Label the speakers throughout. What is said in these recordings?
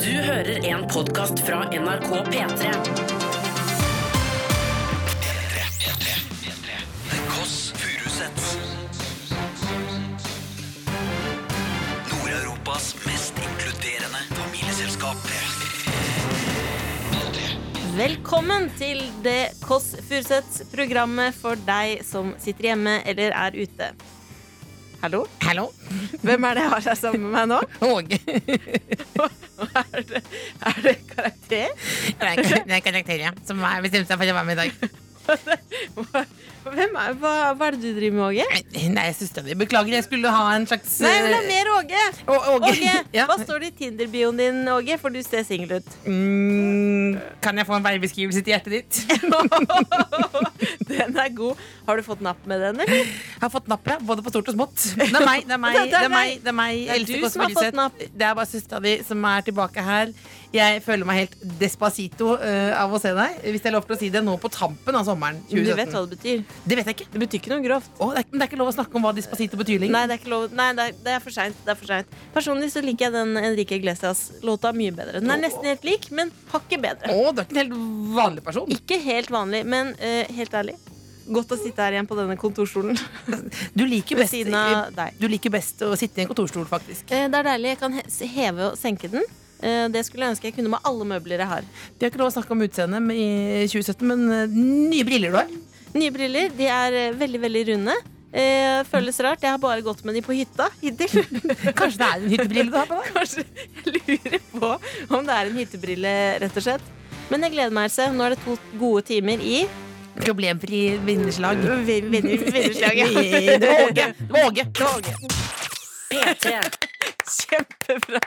Speaker 1: Du hører en podkast fra NRK P3.
Speaker 2: The Koss Furusets Nord-Europas mest inkluderende familieselskap
Speaker 3: Velkommen til det Kåss Furuseths programmet for deg som sitter hjemme eller er ute. Hallo?
Speaker 4: Hallo.
Speaker 3: Hvem er det jeg har her sammen med meg nå?
Speaker 4: Åge.
Speaker 3: Er det, er det karakter?
Speaker 4: Det er det er karakterer ja, som har bestemt seg for å være med i dag.
Speaker 3: Hva, hvem er, hva, hva er det du driver med, Åge?
Speaker 4: Nei, søstera di. Beklager, jeg skulle ha en slags
Speaker 3: Nei, men det er mer Åge!
Speaker 4: eh, Å- Åge.
Speaker 3: Åge,
Speaker 4: Ja.
Speaker 3: Hva står det i Tinder-bioen din, Åge? For du ser singel ut.
Speaker 4: Mm, kan jeg få en veibeskrivelse til hjertet ditt?
Speaker 3: Den er god. Har du fått napp med den, eller?
Speaker 4: Jeg har fått napp, ja. Både på stort og smått. Det er meg. Det er meg. Det er meg. Det er meg.
Speaker 3: Det er
Speaker 4: Else
Speaker 3: du
Speaker 4: Kåss
Speaker 3: som har fått
Speaker 4: Furuseth.
Speaker 3: napp.
Speaker 4: Det er bare søstera di som er tilbake her. Jeg føler meg helt despacito eh, av å se deg. Hvis det er lov til å si det nå på tampen av sommeren
Speaker 3: Du vet hva
Speaker 4: 2017.
Speaker 3: det betyr.
Speaker 4: Det vet jeg ikke.
Speaker 3: Det betyr ikke noe grovt.
Speaker 4: Å, det er, men det er ikke lov å snakke om hva despacito betyr lenger.
Speaker 3: Nei, det er, ikke lov. Nei, det er, det er for seint. Det er for sent. Personlig så liker jeg den Enrique Iglesias-låta mye bedre. Den er nesten helt lik, men hakket bedre.
Speaker 4: Å, du er ikke en helt vanlig person.
Speaker 3: Ikke helt vanlig, men eh, helt ærlig. Godt å sitte her igjen på denne kontorstolen
Speaker 4: Du liker
Speaker 3: ved
Speaker 4: best,
Speaker 3: siden av deg.
Speaker 4: du liker best å sitte i en kontorstol, faktisk.
Speaker 3: Eh, det er deilig. Jeg kan he- heve og senke den. Eh, det skulle jeg ønske jeg kunne med alle møbler jeg har.
Speaker 4: Det er ikke lov å snakke om utseendet men i 2017, men eh, nye briller du har.
Speaker 3: Nye briller. De er eh, veldig, veldig runde. Eh, føles rart. Jeg har bare gått med de på hytta hittil.
Speaker 4: Kanskje det er en hyttebrille du har på deg?
Speaker 3: Kanskje jeg lurer på om det er en hyttebrille, rett og slett. Men jeg gleder meg, Else. Nå er det to gode timer i
Speaker 4: Problemfri vinnerslag.
Speaker 3: Vin- vin- Vinnerslag, ja.
Speaker 4: Det var Åge. Det var Åge. Det var Åge.
Speaker 1: P3.
Speaker 3: Kjempebra.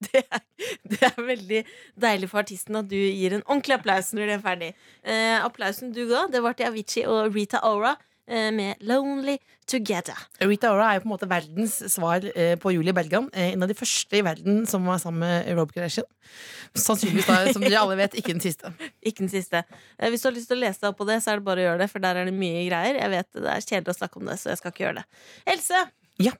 Speaker 3: Det er, det er veldig deilig for artisten at du gir en ordentlig applaus når de er ferdig. Eh, applausen du ga, det var til Avicii og Rita Ora eh, med 'Lonely Together'.
Speaker 4: Rita Ora er jo på en måte verdens svar eh, på Julie Bergan. eh, En av de første i verden som var sammen med Rob Kardashian. Sannsynligvis, da, som dere alle vet, ikke den siste.
Speaker 3: Ikke den siste. Eh, hvis du har lyst til å lese deg opp på det, så er det bare å gjøre det, for der er det mye greier. Jeg vet det er kjedelig å snakke om det, så jeg skal ikke gjøre det. Else!
Speaker 4: Ja.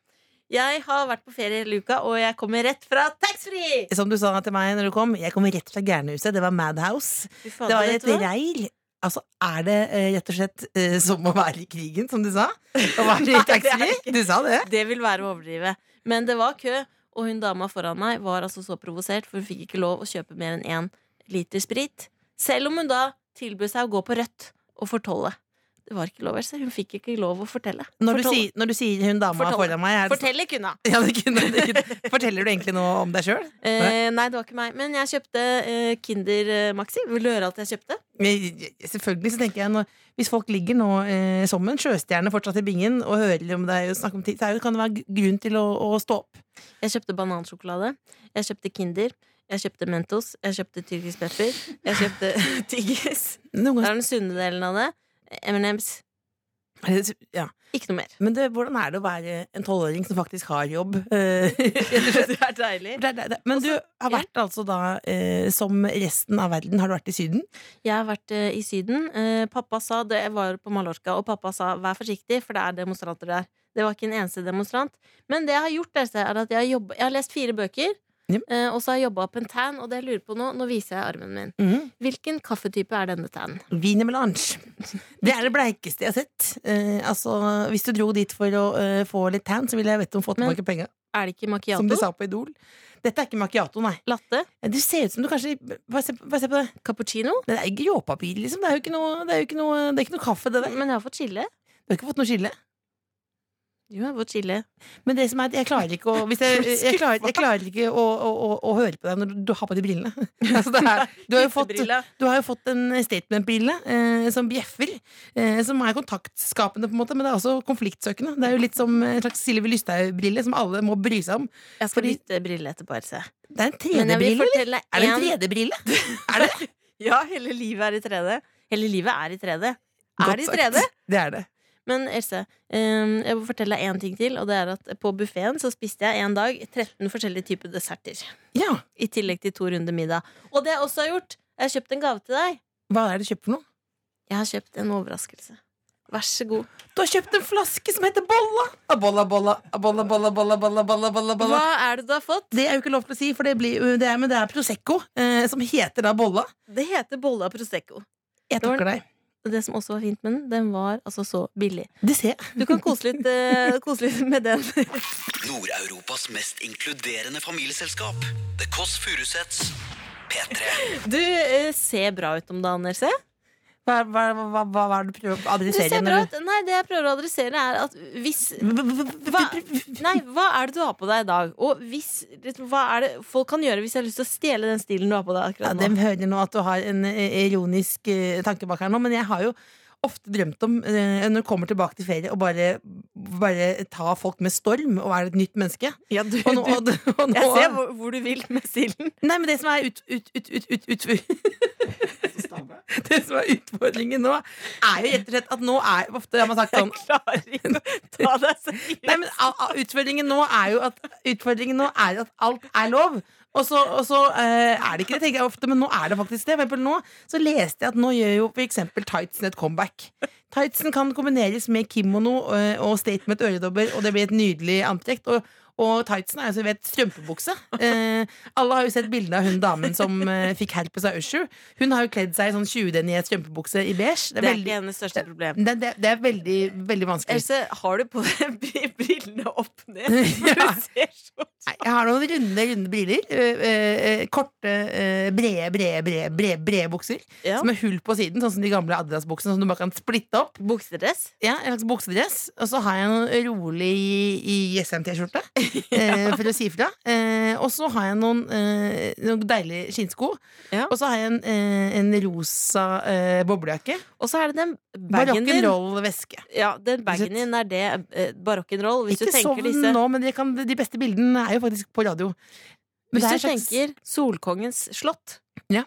Speaker 3: Jeg har vært på ferie i luka, og jeg kommer rett fra taxfree!
Speaker 4: Som du sa til meg når du kom, jeg kom rett fra gærnehuset. Det var Madhouse.
Speaker 3: Fy fader,
Speaker 4: Det var
Speaker 3: vet
Speaker 4: et
Speaker 3: du hva?
Speaker 4: reir. Altså, er det eh, rett og slett eh, som å være i krigen, som du sa? Å være
Speaker 3: Nei, det
Speaker 4: i
Speaker 3: er
Speaker 4: taxfree?
Speaker 3: ikke-
Speaker 4: Du sa det?
Speaker 3: Det vil være å overdrive. Men det var kø, og hun dama foran meg var altså så provosert, for hun fikk ikke lov å kjøpe mer enn én liter sprit. Selv om hun da tilbød seg å gå på rødt og fortolle. Det var ikke lov, Else. Hun fikk ikke lov å fortelle.
Speaker 4: Når du,
Speaker 3: Fortolle-
Speaker 4: sier, når du sier hun dama
Speaker 3: Fortell.
Speaker 4: foran meg er det,
Speaker 3: Fortelle kunne hun.
Speaker 4: ja, det kunne, det kunne. Forteller du egentlig noe om deg sjøl?
Speaker 3: Eh, nei, det var ikke meg. Men jeg kjøpte eh, Kinder eh, Maxi. Vil du høre alt jeg kjøpte?
Speaker 4: Selvfølgelig så tenker jeg når, Hvis folk ligger nå eh, som en sjøstjerne fortsatt i bingen og hører om deg og snakker om ting, så er det- kan det være gr- grunn til å, å stå opp.
Speaker 3: Jeg kjøpte banansjokolade. Jeg kjøpte Kinder. Jeg kjøpte Mentos. Jeg kjøpte tyrkisk pepper. Jeg kjøpte tyggis.
Speaker 4: Noen
Speaker 3: Det
Speaker 4: ganger,
Speaker 3: er den sunne delen av det. M&M's.
Speaker 4: Eh, ja.
Speaker 3: Ikke noe mer.
Speaker 4: Men det, hvordan er det å være en tolvåring som faktisk har jobb? Eh, rett og slett?
Speaker 3: Det er deilig.
Speaker 4: Det er det, det. Men du har vært altså da eh, som resten av verden, har du vært i Syden?
Speaker 3: Jeg har vært eh, i Syden. Eh, pappa sa det, Jeg var på Mallorca, og pappa sa 'vær forsiktig, for det er demonstranter der'. Det var ikke en eneste demonstrant. Men det jeg har gjort, Else, er at jeg har, jobbet, jeg har lest fire bøker,
Speaker 4: Jep.
Speaker 3: eh, og så har jeg jobba opp en tan, og det jeg lurer på nå Nå viser jeg armen min. Hvilken kaffetype er denne tanen?
Speaker 4: Wiener Melange. Det er det bleikeste jeg har sett. Eh, altså, hvis du dro dit for å eh, få litt tan, så ville jeg vett om å få
Speaker 3: Men-
Speaker 4: tilbake penga.
Speaker 3: Er det ikke
Speaker 4: Som de
Speaker 3: macchiato?
Speaker 4: sa på Idol. Dette er ikke macchiato, nei.
Speaker 3: Latte?
Speaker 4: Du ser ut som du kanskje Bare se, bare se på det.
Speaker 3: Cappuccino?
Speaker 4: Det er gråpapir, liksom. Det er jo ikke noe, det er jo ikke noe, det er ikke noe kaffe, det der.
Speaker 3: Men jeg har fått chile.
Speaker 4: Du har ikke fått noe skille.
Speaker 3: Jo, jeg har fått chile.
Speaker 4: Men det som er, at jeg klarer ikke å hvis jeg, jeg, klarer, jeg klarer ikke å, å, å, å høre på deg når du har på de brillene. Altså, det er, du har jo fått
Speaker 3: Hyttebrilla.
Speaker 4: Du har jo fått en statement-brille eh, som bjeffer, eh, som er kontaktskapende, på en måte, men det er også konfliktsøkende. Det er jo litt som en slags Sylvi Lysthaug-brille som alle må bry seg om.
Speaker 3: Jeg skal
Speaker 4: Fordi-
Speaker 3: bytte brille etterpå, Else.
Speaker 4: Det er en
Speaker 3: Men jeg vil
Speaker 4: 3D-brille, eller?
Speaker 3: fortelle
Speaker 4: Er det en
Speaker 3: en-
Speaker 4: 3D-brille? Er det?
Speaker 3: Ja, hele livet er i 3D. Hele livet er i 3D. Er
Speaker 4: Godt
Speaker 3: det i
Speaker 4: sagt.
Speaker 3: 3D?
Speaker 4: Det er det.
Speaker 3: Men Else, ehm, jeg må fortelle deg en ting til. Og det er at På buffeen spiste jeg en dag 13 forskjellige typer desserter.
Speaker 4: Ja.
Speaker 3: I tillegg til to runder middag. Og det jeg også har gjort, jeg har kjøpt en gave til deg.
Speaker 4: Hva er det du kjøper for noe?
Speaker 3: Jeg har kjøpt en overraskelse. Vær så god.
Speaker 4: Du har kjøpt en flaske som heter Bolla! Bolla, bolla, bolla, bolla, bolla, bolla, bolla, bolla,
Speaker 3: Hva
Speaker 4: bolla.
Speaker 3: er det du har fått?
Speaker 4: Det er jo ikke lov til å si, for det, blir, jo- det, er, men det er Prosecco eh, som heter da Bolla.
Speaker 3: Det heter bolle av Prosecco.
Speaker 4: Jeg
Speaker 3: Det var-
Speaker 4: takker deg.
Speaker 3: Og Det som også var fint med den, den var altså så billig.
Speaker 4: Det ser jeg.
Speaker 3: Du kan kose litt, eh, kose litt med den.
Speaker 2: Nord-Europas mest inkluderende familieselskap. The Kåss Furuseths. P3.
Speaker 3: Du eh, ser bra ut om dagen, Else.
Speaker 4: Hva, hva, hva, hva, hva er det du prøver å
Speaker 3: Du ser
Speaker 4: adressere?
Speaker 3: bra ut. Nei, det jeg prøver å adressere, er at hvis hva, nei, hva er det du har på deg i dag? Og hvis, hva er det folk kan gjøre hvis jeg har lyst til å stjele den stilen du har på deg
Speaker 4: Ja,
Speaker 3: akkurat
Speaker 4: de
Speaker 3: nå?
Speaker 4: hører nå at du har en eh, ironisk eh, tanke bak her nå, men jeg har jo ofte drømt om, eh, når du kommer tilbake til ferie, å bare, bare ta folk med storm og være et nytt menneske.
Speaker 3: Ja, du,
Speaker 4: Og nå,
Speaker 3: du-
Speaker 4: og, og nå,
Speaker 3: jeg ser hvor, hvor du vil med stilen.
Speaker 4: Nei, men det som er ut, ut, ut, ut, ut, ut. Det som er utfordringen nå, er jo rett og slett at nå er Ofte har man sagt sånn
Speaker 3: Klarer ikke å ta deg seriøst.
Speaker 4: Nei, men a- a- utfordringen nå er jo at Utfordringen nå er at alt er lov. Og så, og så eh, er det ikke det, tenker jeg ofte, men nå er det faktisk det. For eksempel nå så leste jeg at nå gjør jo f.eks. tightsen et comeback. Tightsen kan kombineres med kimono eh, og statement øredobber, og det blir et nydelig antrekk. Og, og tightsen er jo så vidt strømpebukse. Eh, alle har jo sett bildet av hun damen som eh, fikk herpes av Usher. Hun har jo kledd seg i sånn 20-den i et strømpebukse i beige.
Speaker 3: det
Speaker 4: Det er
Speaker 3: er ikke
Speaker 4: veldig,
Speaker 3: hennes største problem.
Speaker 4: det, det, det er veldig, veldig vanskelig.
Speaker 3: Else, har du på deg bri- brillene opp ned? For
Speaker 4: Ja.
Speaker 3: du ser så
Speaker 4: Nei, jeg har noen runde, runde briller. øh, øh, øh, korte, øh, brede, brede, brede, brede, brede bukser.
Speaker 3: ja.
Speaker 4: Som er hull på siden, sånn som de gamle Adidas-buksene. Som du bare kan splitte opp.
Speaker 3: Buksedress?
Speaker 4: Ja, En slags buksedress. Og så har jeg noen rolig i Jessheim-T-skjorte, eh, for å si ifra. Eh, og så har jeg noen, eh, noen deilige skinnsko.
Speaker 3: Ja.
Speaker 4: Og så har jeg en, eh, en rosa eh, boblejakke.
Speaker 3: Og så er det den bagen din.
Speaker 4: Rock'n'roll-veske.
Speaker 3: Ja, den bagen din er det eh, barock'n'roll. Hvis
Speaker 4: Ikke
Speaker 3: du tenker
Speaker 4: sovn
Speaker 3: disse
Speaker 4: nå, men de, kan, de beste bildene er jo faktisk på radio. Men
Speaker 3: Hvis
Speaker 4: det er
Speaker 3: du
Speaker 4: en slags-
Speaker 3: tenker Solkongens slott
Speaker 4: Ja.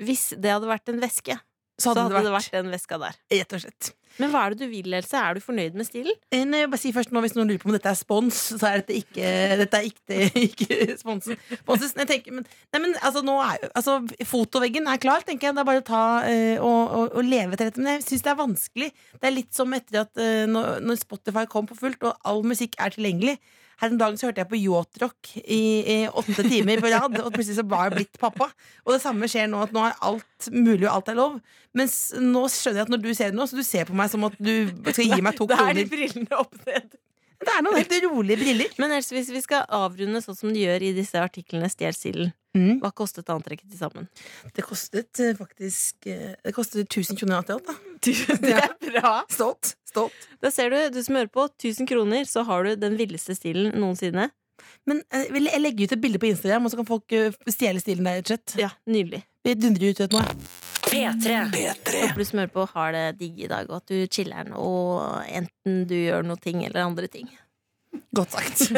Speaker 3: Hvis det hadde vært en veske, så hadde, det vært den veska der.
Speaker 4: Rett og slett.
Speaker 3: Men hva er det du vil, Else? Er du fornøyd med stilen?
Speaker 4: Eh, Nei, bare si først nå Hvis noen lurer på om dette er spons, så er dette ikke, dette er ikke, ikke sponsen. sponses. Nei, jeg tenker, men, nei, men altså, nå er, jo- altså, fotoveggen er klar, tenker jeg. Det er bare å ta eh, og, og, og leve etter dette. Men jeg syns det er vanskelig. Det er litt som etter at eh, når, når Spotify kom på fullt, og all musikk er tilgjengelig. Her om dagen så hørte jeg på yacht-rock i, i åtte timer på rad, og plutselig så var jeg blitt pappa. Og det samme skjer nå, at nå er alt mulig, og alt er lov. Mens nå skjønner jeg at når du ser det nå, så du ser på meg som at du skal gi meg to
Speaker 3: Det er
Speaker 4: kroner.
Speaker 3: de brillene opp ned.
Speaker 4: Det er noen helt rolige briller.
Speaker 3: Men Else, hvis vi skal avrunde sånn som de gjør i disse artiklene Stjel stilen,
Speaker 4: Mm.
Speaker 3: hva kostet antrekket til sammen?
Speaker 4: Det kostet eh, faktisk eh, Det kostet 1000 kroner alt i alt. da.
Speaker 3: Det er bra!
Speaker 4: Stolt. stolt.
Speaker 3: Da ser du, du som hører på, 1000 kroner, så har du den villeste stilen noensinne.
Speaker 4: Men eh, vil jeg legger ut et bilde på Instagram, og så kan folk eh, stjele stilen der. rett og slett.
Speaker 3: Ja, Nydelig.
Speaker 4: Vi dundrer ut et nå. jeg.
Speaker 1: P3.
Speaker 2: P3.
Speaker 3: Håper du som hører på, har det digg i dag, og at du chiller'n, og enten du gjør noe ting eller andre ting.
Speaker 4: Godt sagt.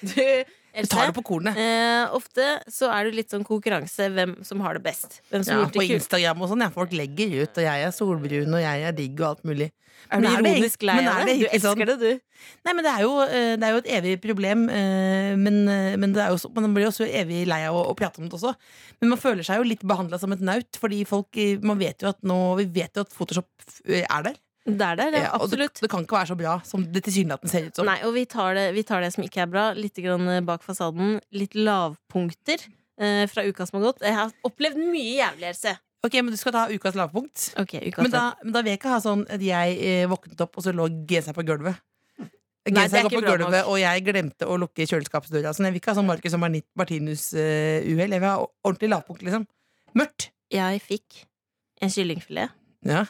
Speaker 3: Du,
Speaker 4: Vi
Speaker 3: Else,
Speaker 4: tar det på kornet.
Speaker 3: eh, ofte så er det litt sånn konkurranse hvem som har det best. Hvem som
Speaker 4: Ja,
Speaker 3: har gjort
Speaker 4: på
Speaker 3: det kult.
Speaker 4: Instagram og sånn. Ja. Folk legger ut, og jeg er solbrun, og jeg er digg, og alt mulig.
Speaker 3: Er du
Speaker 4: Men er det
Speaker 3: ironisk
Speaker 4: egentlig-
Speaker 3: lei av
Speaker 4: men er
Speaker 3: det?
Speaker 4: det
Speaker 3: Du
Speaker 4: egentlig sånn?
Speaker 3: elsker det, du.
Speaker 4: Nei, men det er jo, eh, det er jo et evig problem. eh, Men, eh, men det er jo, så- man blir jo også evig lei av å, å prate om det også. Men man føler seg jo litt behandla som et naut, fordi folk, eh, man vet jo at nå, vi vet jo at Photoshop eh, er der. Eh,
Speaker 3: Det er der, ja,
Speaker 4: og det,
Speaker 3: absolutt.
Speaker 4: det kan ikke være så bra som det tilsynelatende ser ut som.
Speaker 3: Nei, og vi tar, det, vi tar det som ikke er bra, litt grann eh, bak fasaden. Litt lavpunkter eh, fra uka som har gått. Jeg har opplevd mye jævlig, Else.
Speaker 4: Ok, men du skal ta ukas lavpunkt.
Speaker 3: Ok, uka
Speaker 4: Men
Speaker 3: som-
Speaker 4: da, men da vil jeg ikke ha sånn at jeg eh, våknet opp, og så lå genseren på gulvet.
Speaker 3: Nei, det er
Speaker 4: Genseren går
Speaker 3: ikke
Speaker 4: på
Speaker 3: bra nok.
Speaker 4: gulvet, og jeg glemte å lukke kjøleskapsdøra. Sånn, jeg vil ikke ha sånn Marcus og Martinus-uhell. jeg vil ha ordentlig lavpunkt, liksom. Mørkt.
Speaker 3: Jeg fikk en kyllingfilet.
Speaker 4: Ja.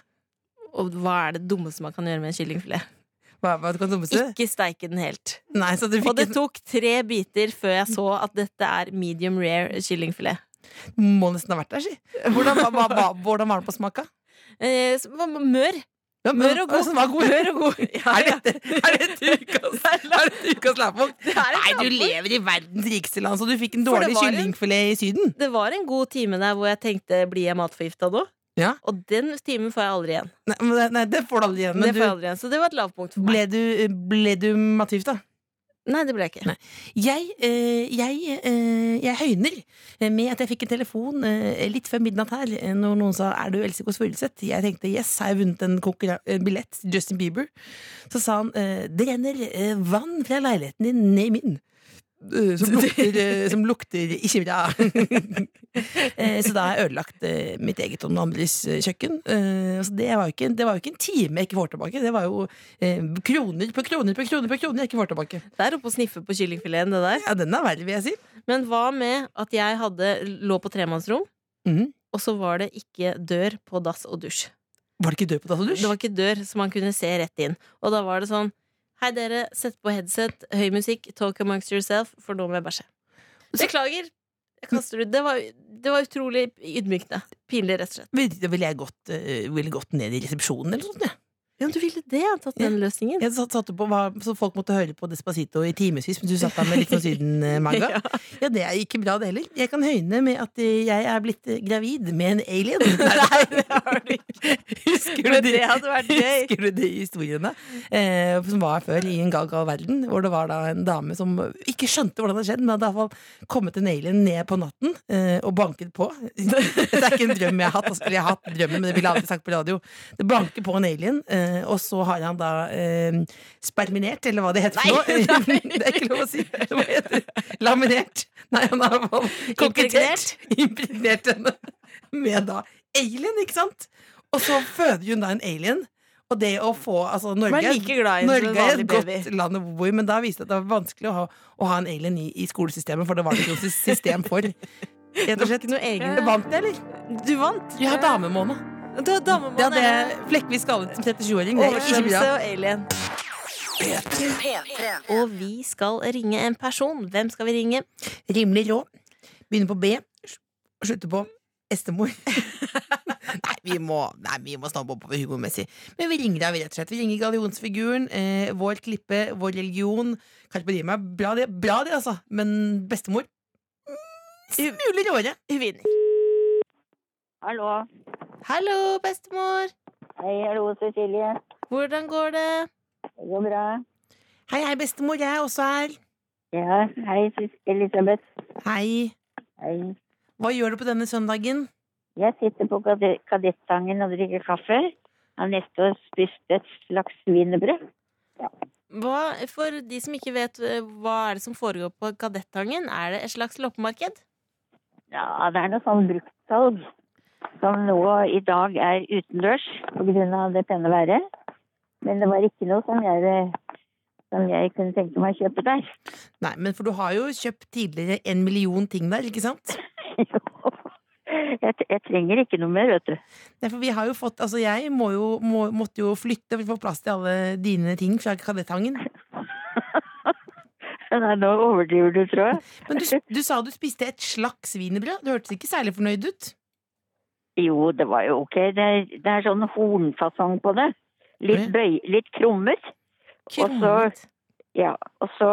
Speaker 3: Og hva er det dummeste man kan gjøre med en kyllingfilet?
Speaker 4: Hva, hva kan dummeste?
Speaker 3: Ikke steike den helt.
Speaker 4: Nei, så du
Speaker 3: Og
Speaker 4: fikk
Speaker 3: det tok tre biter før jeg så at dette er medium rare kyllingfilet.
Speaker 4: en Må nesten ha vært der, si. Hvordan, hva, hva, hva, hvordan var den på smaka?
Speaker 3: Eh, så- mør.
Speaker 4: Ja,
Speaker 3: Mør og god.
Speaker 4: Den var god.
Speaker 3: Mør og god. Ja,
Speaker 4: Er
Speaker 3: ja.
Speaker 4: dette, er dette ukas, er dette ukas lavpunkt?
Speaker 3: Det er en
Speaker 4: Nei, du
Speaker 3: lavpunkt.
Speaker 4: lever i verdens rikeste land, så du fikk en
Speaker 3: For det
Speaker 4: dårlig
Speaker 3: var en-
Speaker 4: kyllingfilet i Syden.
Speaker 3: Det var en god time der hvor jeg tenkte blir jeg matforgifta nå?
Speaker 4: Ja.
Speaker 3: Og den timen får jeg aldri igjen.
Speaker 4: Nei, men det- nei, det får du aldri igjen.
Speaker 3: det
Speaker 4: Men
Speaker 3: får jeg
Speaker 4: du, euh,
Speaker 3: aldri igjen. Så det var et lavpunkt for meg.
Speaker 4: ble, du, ble du mativt, da?
Speaker 3: Nei, det ble jeg ikke.
Speaker 4: Nei. Jeg, eh, jeg, eh, jeg høyner med at jeg fikk en telefon eh, litt før midnatt her, eh, når noen sa 'er du Else Kåss Furuseth'? Jeg tenkte 'yes, har jeg vunnet en, konkurra- en billett til Justin Bieber'? Så sa han eh, 'det renner eh, vann fra leiligheten din ned i min'. eh, Som lukter, eh, som lukter ikke bra. Eh, så da har jeg ødelagt eh, mitt eget og noen andres eh, kjøkken. Eh, Så det var, jo ikke, en- det var jo ikke en time jeg ikke får tilbake. Det var jo eh, kroner på kroner på kroner på kroner jeg ikke får tilbake.
Speaker 3: Det er oppe å sniffe på kyllingfileten, det der.
Speaker 4: Ja, den er verre, vil jeg si.
Speaker 3: Men hva med at jeg hadde, lå på tremannsrom,
Speaker 4: Mhm.
Speaker 3: og så var det ikke dør på dass og dusj.
Speaker 4: Var det ikke død på dass og dusj?
Speaker 3: Det var ikke dør som man kunne se rett inn. Og da var det sånn Hei, dere. Sett på headset, høy musikk, talk amongst yourself, for nå må jeg bæsje. Beklager. Jeg kaster ut. Det var, det var utrolig ydmykende. Pinlig, rett og slett.
Speaker 4: Vil- Da ville jeg gått, eh, ville gått ned i resepsjonen eller sånt. jeg.
Speaker 3: Ja, men du ville det? Jeg har tatt den løsningen.
Speaker 4: Jeg satt, satte på hva, Så folk måtte høre på Despacito i timevis mens du satt der med litt sånn Syden-manga.
Speaker 3: Ja.
Speaker 4: ja. det er ikke bra, det heller. Jeg kan høyne med at eh, jeg er blitt eh, gravid med en alien. Nei, det har du ikke. Husker du
Speaker 3: Men
Speaker 4: de,
Speaker 3: det hadde vært gøy.
Speaker 4: Husker du de historiene eh, som var før i en gal, gal verden? Hvor det var da en dame som ikke skjønte hvordan det skjedde, men hadde i hvert fall kommet en alien ned på natten eh, og banket på. Dette er ikke en drøm jeg har hatt, altså, eller jeg har hatt drømmen, men det ville jeg aldri sagt på radio. Det banker på en alien, eh, og så har han da eh, sperminert, eller hva det heter
Speaker 3: Nei,
Speaker 4: for noe. det er ikke lov å si. Hva heter det? Laminert. Nei, han har i hvert fall konkurrert. Impregnert henne med da alien, ikke sant? Og så føder hun da en alien. Og det å få altså, Norge,
Speaker 3: Man er like glad i en som en
Speaker 4: Norge er et
Speaker 3: vanlig
Speaker 4: godt
Speaker 3: baby.
Speaker 4: land å bo i, men da viste det at det var vanskelig å ha, å ha en alien i, i skolesystemet, for det var det ikke noe system for. Rett og slett.
Speaker 3: Ikke noe egen.
Speaker 4: Vant jeg, eller?
Speaker 3: Du vant.
Speaker 4: Jeg har damemåned.
Speaker 3: Du har damemann.
Speaker 4: Det hadde jeg flekkvis skallet som 37-åring. Det er ikke bra.
Speaker 3: Oversvømmelse og alien. Og vi skal ringe en person. Hvem skal vi ringe?
Speaker 4: Rimelig rå. Begynner på B. og Slutter på estemor. nei, vi må, nei, vi må snabbe oppover humormessig. Men vi ringer deg, vi rett og slett. Vi ringer gallionsfiguren, eh, vår klippe, vår religion. Karpe Diem er bra, det, bra det, altså. Men bestemor mm, Mulig råere.
Speaker 3: Hun vinner.
Speaker 5: Hallo.
Speaker 3: Hallo, bestemor.
Speaker 5: Hei, hallo, Cecilie.
Speaker 3: Hvordan går det?
Speaker 5: Det går bra.
Speaker 4: Hei, hei, bestemor. Jeg er også her.
Speaker 5: Ja, hei, Sus- Elisabeth.
Speaker 4: Hei.
Speaker 5: Hei.
Speaker 4: Hva gjør du på denne søndagen?
Speaker 5: Jeg sitter på kade- Kadettangen og drikker kaffe. Har neste år spist et slags wienerbrød.
Speaker 3: Hva, for de som ikke vet eh, hva er det som foregår på Kadettangen, er det et slags loppemarked?
Speaker 5: Ja, det er noe sånn bruktsalg som nå i dag er utendørs pga. det pene været. Men det var ikke noe som jeg, eh, som jeg kunne tenke meg å kjøpe der.
Speaker 4: Nei, men for du har jo kjøpt tidligere en million ting der, ikke sant?
Speaker 5: Jo. Jeg, t- jeg trenger ikke noe mer, vet du.
Speaker 4: Nei, for vi har jo fått, altså jeg må jo, må, måtte jo flytte for å få plass til alle dine ting fra Kadettangen.
Speaker 5: Nei, nå overdriver du, tror jeg.
Speaker 4: Men du, du sa du spiste et slags wienerbrød. Du hørtes ikke særlig fornøyd ut.
Speaker 5: Jo, det var jo ok. Det er, det er sånn hornfasong på det. Litt, bøy, litt krummet.
Speaker 3: Krummet.
Speaker 5: Ja, og så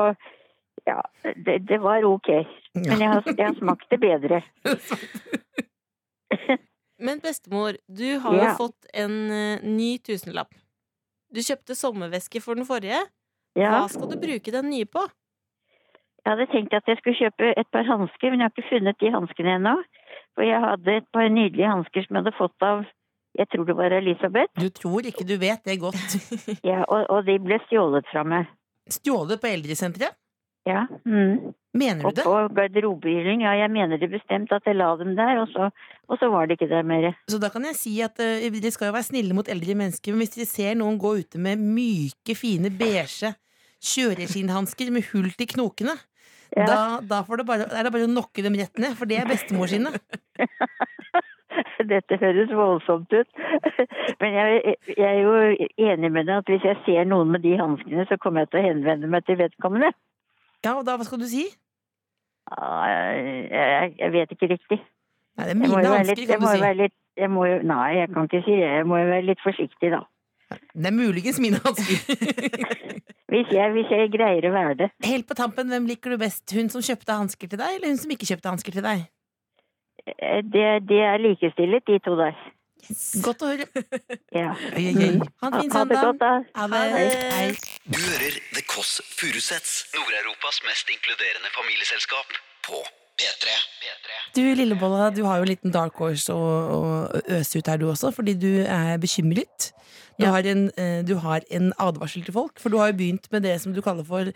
Speaker 5: Ja, det, det var ok. Men jeg har, jeg har smakt det bedre.
Speaker 3: Men bestemor, du har jo
Speaker 5: Ja.
Speaker 3: fått en eh, ny tusenlapp. Du kjøpte sommerveske for den forrige.
Speaker 5: Ja,
Speaker 3: Hva skal du bruke den nye på?
Speaker 5: jeg hadde tenkt at jeg skulle kjøpe et par hansker, men jeg har ikke funnet de hanskene ennå. For jeg hadde et par nydelige hansker som jeg hadde fått av jeg tror det var Elisabeth,
Speaker 4: Du tror ikke du vet det godt.
Speaker 5: ja, og, og de ble stjålet fra meg.
Speaker 4: Stjålet på eldresenteret?
Speaker 5: Ja. Mm.
Speaker 4: Mener
Speaker 5: Og
Speaker 4: du det?
Speaker 5: på garderobehylling. Ja, jeg mener det bestemt at jeg la dem der, og så, og så var det ikke der mer.
Speaker 4: Så da kan jeg si at eh, dere skal jo være snille mot eldre mennesker, men hvis dere ser noen gå ute med myke, fine, beige kjøreskinnhansker med hull til knokene,
Speaker 5: Ja.
Speaker 4: da, da får det bare, er det bare å nokke dem rett ned, for det er bestemor sine.
Speaker 5: Dette høres voldsomt ut. Men jeg, jeg er jo enig med deg at hvis jeg ser noen med de hanskene, så kommer jeg til å henvende meg til vedkommende.
Speaker 4: Ja, og da hva skal du si?
Speaker 5: Ah, Jeg, jeg vet ikke riktig.
Speaker 4: Nei, det er
Speaker 5: Jeg må
Speaker 4: mine
Speaker 5: jo være
Speaker 4: hansker,
Speaker 5: litt, jeg
Speaker 4: kan du
Speaker 5: må jo
Speaker 4: si.
Speaker 5: være litt jeg må jo, nei, jeg kan ikke si det. Jeg må jo være litt forsiktig, da.
Speaker 4: Det er muligens mine hansker.
Speaker 5: Hvis jeg, hvis jeg greier å være det.
Speaker 4: Helt på tampen, hvem liker du best? Hun som kjøpte hansker til deg, eller hun som ikke kjøpte hansker til deg?
Speaker 5: Eh, Det, det er likestillet, de to der.
Speaker 4: Godt å høre.
Speaker 5: Ja.
Speaker 4: Oi, oi, oi. Ha en
Speaker 5: Ha,
Speaker 4: fin
Speaker 5: ha det godt,
Speaker 4: søndag.
Speaker 5: da.
Speaker 4: Ha
Speaker 3: Ha det.
Speaker 4: Hei.
Speaker 2: Du hører The Kåss Furuseths, Nord-Europas mest inkluderende familieselskap, på P3. P3.
Speaker 4: Du Lillebolla, du har jo en liten dark horse å, å øse ut her, du også, fordi du er bekymret. Du, har en, eh, du har en advarsel til folk, for du har jo begynt med det som du kaller for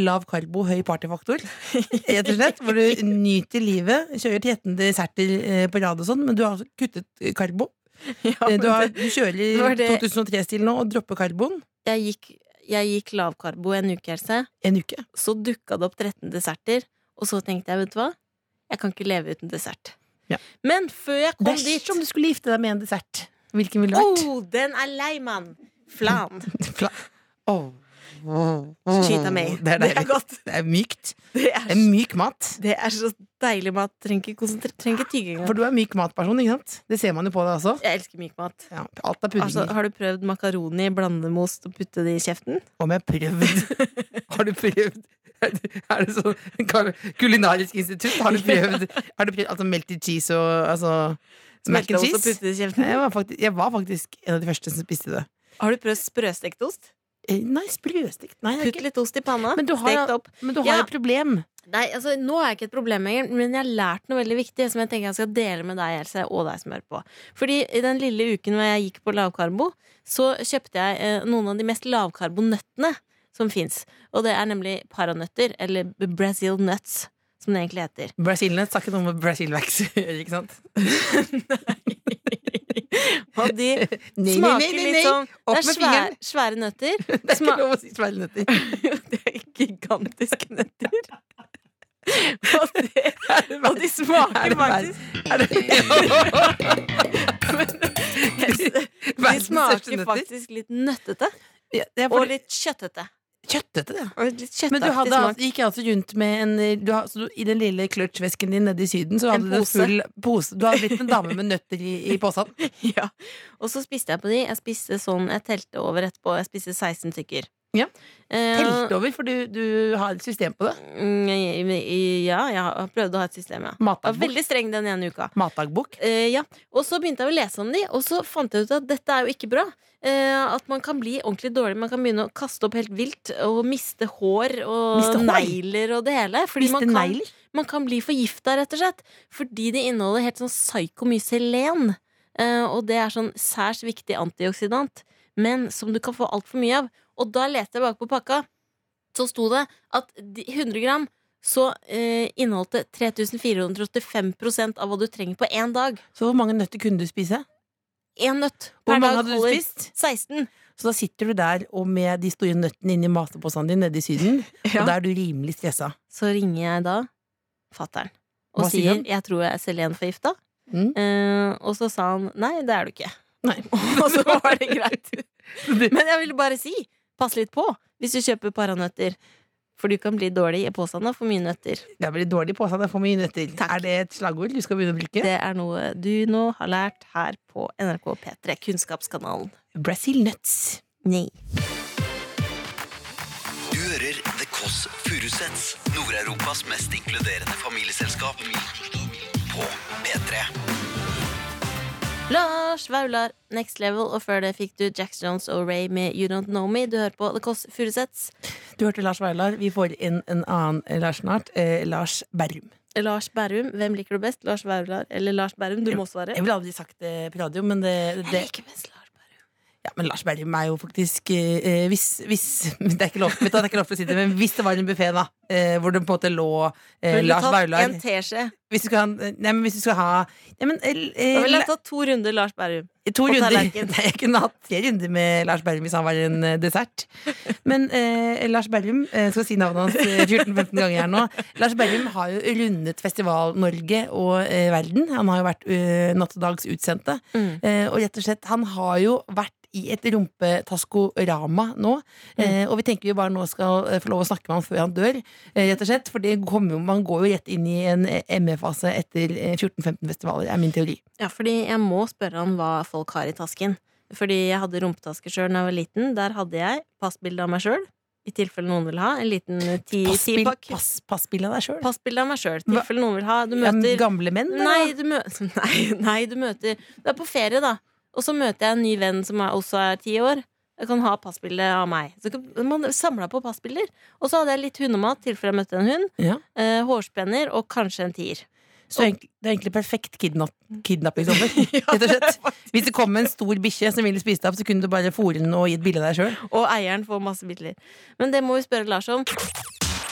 Speaker 4: lav karbo, høy partyfaktor. Rett og slett, Hvor du nyter livet, kjører til jetten desserter eh, på rad og sånn, men du har kuttet eh, karbo.
Speaker 3: Ja,
Speaker 4: Eh,
Speaker 3: men
Speaker 4: Du, har,
Speaker 3: det-
Speaker 4: du kjører
Speaker 3: det var
Speaker 4: i
Speaker 3: det-
Speaker 4: 2003-stil nå og dropper karboen
Speaker 3: jeg, gikk, jeg gikk lavkarbo en uke, Else.
Speaker 4: en uke.
Speaker 3: Så dukka det opp 13 desserter. Og så tenkte jeg, vet du hva? Jeg kan ikke leve uten dessert.
Speaker 4: Ja.
Speaker 3: Men før jeg kom dit
Speaker 4: om du skulle gifte deg med en dessert. Hvilken ville det vært?
Speaker 3: Oh, den er lei, mann! Flan.
Speaker 4: Fla- Åh.
Speaker 3: Skyt av meg.
Speaker 4: Det er
Speaker 3: Det er
Speaker 4: deilig.
Speaker 3: godt.
Speaker 4: Det er mykt.
Speaker 3: Det er,
Speaker 4: Det er myk mat.
Speaker 3: det er så deilig mat. Trenger ikke, konsentre- trenger ikke tygge engang.
Speaker 4: For du er myk matperson, ikke sant? Det ser man jo på deg også.
Speaker 3: Jeg elsker myk mat.
Speaker 4: Ja, alt er pudding.
Speaker 3: Altså, har du prøvd makaroni, blandemost og putte det i kjeften?
Speaker 4: Om jeg har prøvd Har du prøvd? Er det sånn kar- Kulinarisk institutt? Har du prøvd, har du prøvd altså melted cheese og altså, mac and
Speaker 3: Smelte ost og
Speaker 4: cheese?
Speaker 3: putte det i kjeften?
Speaker 4: Jeg var, faktisk, jeg var faktisk en av de første som spiste det.
Speaker 3: Har du prøvd sprøstekt ost?
Speaker 4: Eh, Nei, sprøstekt. Nei, det er
Speaker 3: Putt
Speaker 4: ikke.
Speaker 3: litt ost i panna.
Speaker 4: Men du har-
Speaker 3: Stek det opp.
Speaker 4: Men du har
Speaker 3: Ja.
Speaker 4: et problem.
Speaker 3: Nei, altså, nå er jeg ikke et problem lenger, men jeg har lært noe veldig viktig som jeg tenker jeg skal dele med deg, Else, og deg som hører på. Fordi i den lille uken hvor jeg gikk på lavkarbo, så kjøpte jeg eh, noen av de mest lavkarbonøttene som fins. Og det er nemlig paranøtter, eller Brazil nuts, som det egentlig heter.
Speaker 4: Brasilnøtt sa ikke noe med Brasilvax å gjøre, ikke sant?
Speaker 3: Og de
Speaker 4: Nei, nei, nei,
Speaker 3: smaker
Speaker 4: nei,
Speaker 3: litt
Speaker 4: nei.
Speaker 3: sånn
Speaker 4: Opp
Speaker 3: Det er
Speaker 4: med
Speaker 3: svære,
Speaker 4: fingeren.
Speaker 3: svære nøtter.
Speaker 4: Det er
Speaker 3: sma-
Speaker 4: ikke lov å si sverdnøtter.
Speaker 3: det er gigantiske nøtter. Og, det, og de smaker faktisk
Speaker 4: Er det,
Speaker 3: De
Speaker 4: Verdens største
Speaker 3: smaker
Speaker 4: nøtter.
Speaker 3: faktisk litt nøttete
Speaker 4: Ja, det er
Speaker 3: og
Speaker 4: fordi-
Speaker 3: litt kjøttete.
Speaker 4: kjøttete, det.
Speaker 3: Og litt
Speaker 4: Men du
Speaker 3: kjøttaktig
Speaker 4: hadde,
Speaker 3: smak.
Speaker 4: altså- gikk altså rundt med en eh, du har, så du, I den lille kløtsjvesken din nede i Syden, så
Speaker 3: En
Speaker 4: hadde du en
Speaker 3: pose.
Speaker 4: full pose. Du hadde blitt en dame med nøtter i, i posen.
Speaker 3: Ja. Og så spiste jeg på de. Jeg spiste sånn, jeg telte over etterpå. Jeg spiste 16 stykker.
Speaker 4: Ja.
Speaker 3: Eh,
Speaker 4: Telt over, for du, du har et system på det.
Speaker 3: mm, i- i- ja, jeg har prøvd å ha et system, ja. Jeg var
Speaker 4: Matdagbok.
Speaker 3: veldig streng den ene uka.
Speaker 4: Matdagbok.
Speaker 3: Eh, ja. Og så begynte jeg å lese om de, og så fant jeg ut at dette er jo ikke bra. Eh, at man kan bli ordentlig dårlig. Man kan begynne å kaste opp helt vilt og miste hår og
Speaker 4: Miste hår?
Speaker 3: negler og det hele. Fordi
Speaker 4: Spiste
Speaker 3: man kan,
Speaker 4: negler.
Speaker 3: man kan bli forgifta, rett og slett. Fordi de inneholder helt sånn psyko mye selen. Eh, og det er sånn særs viktig antioksidant. Men som du kan få altfor mye av. Og da leste jeg bakpå pakka, så sto det at de- 100 gram så eh, inneholdt det 3485 av hva du trenger på én dag
Speaker 4: Så hvor mange nøtter kunne du spise?
Speaker 3: én nøtt
Speaker 4: Hvor
Speaker 3: per
Speaker 4: mange
Speaker 3: dag
Speaker 4: hadde du
Speaker 3: holder.
Speaker 4: spist?
Speaker 3: 16.
Speaker 4: Så da sitter du der og med de store nøttene inni matposen din nede i Syden, og da er du rimelig stressa.
Speaker 3: Så ringer jeg da fattern og
Speaker 4: Hva sier
Speaker 3: sier
Speaker 4: han?
Speaker 3: jeg tror jeg er selenforgifta.
Speaker 4: Mm.
Speaker 3: Eh, og så sa han nei, det er du ikke.
Speaker 4: Nei.
Speaker 3: Og så var det greit. Men jeg ville bare si pass litt på hvis du kjøper paranøtter. For du kan bli dårlig i påstanden for mye nøtter.
Speaker 4: Jeg blir dårlig på seg, det er for mye nøtter. Er det et slagord du skal begynne å bruke?
Speaker 3: Det er noe du nå har lært her på NRK P3, Kunnskapskanalen.
Speaker 4: Brazil nuts.
Speaker 3: Nei.
Speaker 2: Du hører The Kåss Furuseths, Nord-Europas mest inkluderende familieselskap, på P3.
Speaker 3: Lars Vaular, Next Level, og før det fikk du Jax Jones og Ray med You Don't Know Me. Du hører på The Kåss Furuseths.
Speaker 4: Du hørte Lars Veilar. Vi får inn en annen eh, Lars snart. Eh, Lars Berrum.
Speaker 3: Lars Berrum, hvem liker du best? Lars Vaular eller Lars Berrum? Du må svare.
Speaker 4: Jeg ville aldri sagt det på radio, men det, det
Speaker 3: best Lars Berrum.
Speaker 4: ja, Men Lars Berrum er jo faktisk eh, hvis, hvis Det er ikke lov vet du, det er ikke lov for å si det, men hvis det var en buffé, da, eh, hvor det på en måte lå eh,
Speaker 3: Ville
Speaker 4: Lars
Speaker 3: tatt
Speaker 4: Vaular
Speaker 3: en teskje.
Speaker 4: Hvis du skal ha en- Nei, men hvis du skal ha Nei, men eh,
Speaker 3: Da ville jeg
Speaker 4: eh,
Speaker 3: tatt to runder Lars Berrum.
Speaker 4: To
Speaker 3: på
Speaker 4: runder. Nei,
Speaker 3: tallerken.
Speaker 4: jeg kunne hatt tre runder med Lars Berrum hvis han var en eh, dessert. Men eh, Lars Berrum eh, skal si navnet hans eh, 14-15 ganger her nå. Lars Berrum har jo rundet Festival-Norge og eh, verden. Han har jo vært eh, natt og dags utsendte.
Speaker 3: Mm.
Speaker 4: Eh, og rett og slett, han har jo vært i et rumpetaskorama nå. Eh, og vi tenker vi bare nå skal eh, få lov å snakke med ham før han dør. Eh, rett og slett, For det kommer jo, man går jo rett inn i en eh, ME-fase etter eh, 14-15 festivaler, er min teori.
Speaker 3: Ja, fordi jeg må spørre han hva folk har i tasken. Fordi jeg hadde rumpetasker sjøl da jeg var liten. Der hadde jeg passbilde av meg sjøl. I tilfelle noen vil ha. En liten eh, ti-
Speaker 4: Passbil-
Speaker 3: tipakk.
Speaker 4: pass, passbil av deg sjøl?
Speaker 3: Passbilde av meg sjøl. I tilfelle noen vil ha. Du
Speaker 4: Ja,
Speaker 3: møter
Speaker 4: Mm. gamle menn? eller?
Speaker 3: Nei, du møter nei, nei, du møter Du er på ferie, da. Og så møter jeg en ny venn som er, også er ti år. Jeg kan ha passbilde av meg. Så kan- man samla på passbilder. Og så hadde jeg litt hundemat, tilfelle jeg møtte en hund.
Speaker 4: Ja.
Speaker 3: Eh, hårspenner og kanskje en tier.
Speaker 4: Så egentlig, det er egentlig perfekt kidnap kidnappingsommer. rett og slett. Hvis det kom en stor bikkje som ville spise deg opp, så kunne du bare fôre den og gi et bilde av deg sjøl.
Speaker 3: Og eieren får masse bilder. Men det må vi spørre Lars om. Det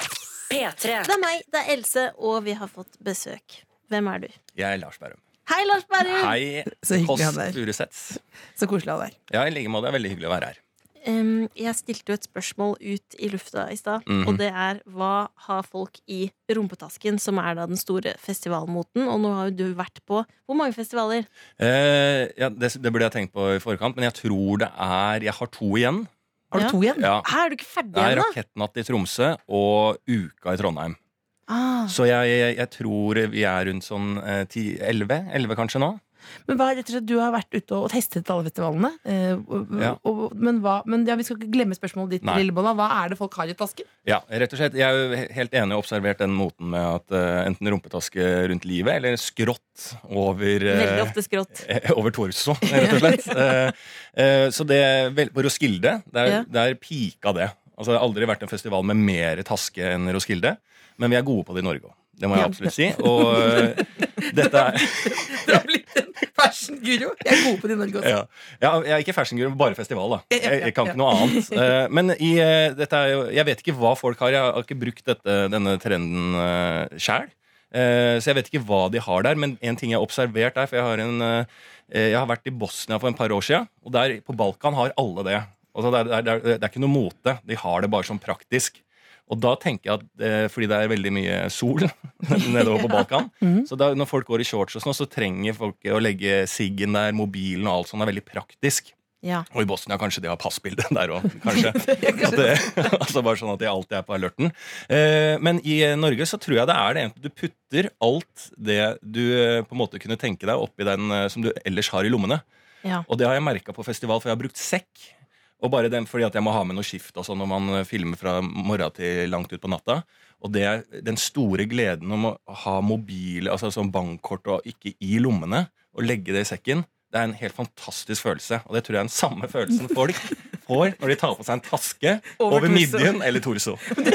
Speaker 1: P3.
Speaker 3: er meg, det er Else, og vi har fått besøk. Hvem er du?
Speaker 6: Jeg er Lars Bærum.
Speaker 3: Hei, Lars Berrum!
Speaker 6: Hei,
Speaker 4: Så hyggelig
Speaker 6: Kåss
Speaker 4: han er.
Speaker 6: Furuseths.
Speaker 4: Så koselig han er.
Speaker 6: Ja, i like måte. Det er Veldig hyggelig å være her.
Speaker 3: Em, jeg stilte jo et spørsmål ut i lufta i stad,
Speaker 6: Mhm.
Speaker 3: og det er hva har folk i rumpetasken, som er da den store festivalmoten? Og nå har jo du vært på hvor mange festivaler?
Speaker 6: Eh, ja, det, det burde jeg tenkt på i forkant, men jeg tror det er Jeg har to igjen.
Speaker 4: Har du
Speaker 3: Ja.
Speaker 4: to igjen?
Speaker 6: Ja,
Speaker 3: Her er du ikke ferdig
Speaker 6: det er
Speaker 3: ennå!
Speaker 6: Rakettnatt i Tromsø og Uka i Trondheim.
Speaker 3: Ah,
Speaker 6: Så jeg, jeg, jeg tror vi er rundt sånn ti-elleve. Elleve kanskje nå.
Speaker 4: Men hva, er rett og slett, Du har vært ute og testet alle festivalene. eh, og,
Speaker 6: Ja.
Speaker 4: og, men hva, men ja, vi skal ikke glemme spørsmålet ditt,
Speaker 6: Nei.
Speaker 4: Lillebolla. Hva er det folk har i tasken?
Speaker 6: Ja, rett og slett. Jeg er jo he- helt enig og observert den moten med at eh, enten rumpetaske rundt livet eller skrått over eh,
Speaker 3: veldig ofte skrått.
Speaker 6: Eh, Over torso, rett og slett. Eh, eh, Så det vel- På Roskilde, der,
Speaker 3: Ja.
Speaker 6: der pika det. Altså, det har aldri vært en festival med mer taske enn Roskilde, men vi er gode på det i Norge òg. Det må jeg
Speaker 4: Ja.
Speaker 6: absolutt si. Og eh, dette er
Speaker 4: Du har blitt en fashion-guru! Jeg er god på det i Norge også.
Speaker 6: ja. ja, jeg er ikke fashionguru, bare festival, da.
Speaker 4: Ja, ja,
Speaker 6: Jeg, jeg kan
Speaker 4: ja.
Speaker 6: ikke noe annet. Eh, Men i, eh, dette er jo Jeg vet ikke hva folk har. Jeg har ikke brukt dette, denne trenden uh, sjæl. Eh, Så jeg vet ikke hva de har der, men en ting jeg har observert der For jeg har, en, eh, eh, jeg har vært i Bosnia for et par år siden, og der på Balkan har alle det. Altså, det, er, det, er, det er ikke noe mote. De har det bare som praktisk. Og da tenker jeg at eh, fordi det er veldig mye sol nedover på Balkan,
Speaker 4: Mhm.
Speaker 6: så da, når folk går i shorts og sånn, så trenger folk å legge siggen der, mobilen og alt sånt. Det er veldig praktisk.
Speaker 3: Ja.
Speaker 6: Og i Bosnia kanskje de har passbilde der òg, kanskje. At det, altså bare sånn at de alltid er på alerten. Eh, men i eh, Norge så tror jeg det er det enten du putter alt det du eh, på en måte kunne tenke deg oppi den eh, som du ellers har i lommene.
Speaker 3: Ja.
Speaker 6: Og det har jeg merka på festival, for jeg har brukt sekk. Og bare den, fordi at jeg må ha med noe skift og sånn når man eh, filmer fra morgen til langt ut på natta. Og det er den store gleden om å ha mobil, altså sånn bankkort og ikke i lommene, og legge det i sekken. Det er en helt fantastisk følelse, og det tror jeg er den samme følelsen folk får når de tar på seg en taske
Speaker 4: Over
Speaker 6: over,
Speaker 4: torso.
Speaker 6: midjen eller torso.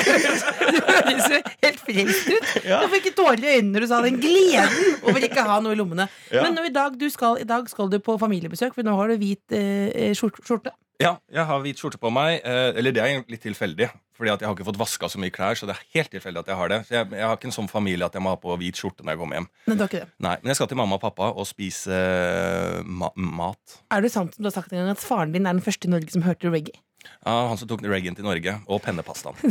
Speaker 4: høres jo helt frelst ut. Jeg fikk tårer i øynene når du sa den gleden over ikke å ha noe i lommene.
Speaker 6: Ja.
Speaker 4: Men nå i dag, du skal, i dag skal du på familiebesøk, for nå har du hvit eh, skjort- skjorte.
Speaker 6: Ja, jeg har hvit skjorte på meg. Eh, eller det er litt tilfeldig. Fordi at jeg har ikke fått vaska så mye klær, så det er helt tilfeldig at jeg har det. Så jeg, jeg har ikke en sånn familie at jeg må ha på hvit skjorte når jeg kommer hjem.
Speaker 4: Nei, du har ikke det.
Speaker 6: Nei, Men jeg skal til mamma og pappa og spise eh, ma mat.
Speaker 4: Er det sant som du har sagt en gang at faren din er den første i Norge som hørte reggae?
Speaker 6: Av han som tok reggaen til Norge. Og pennepastaen.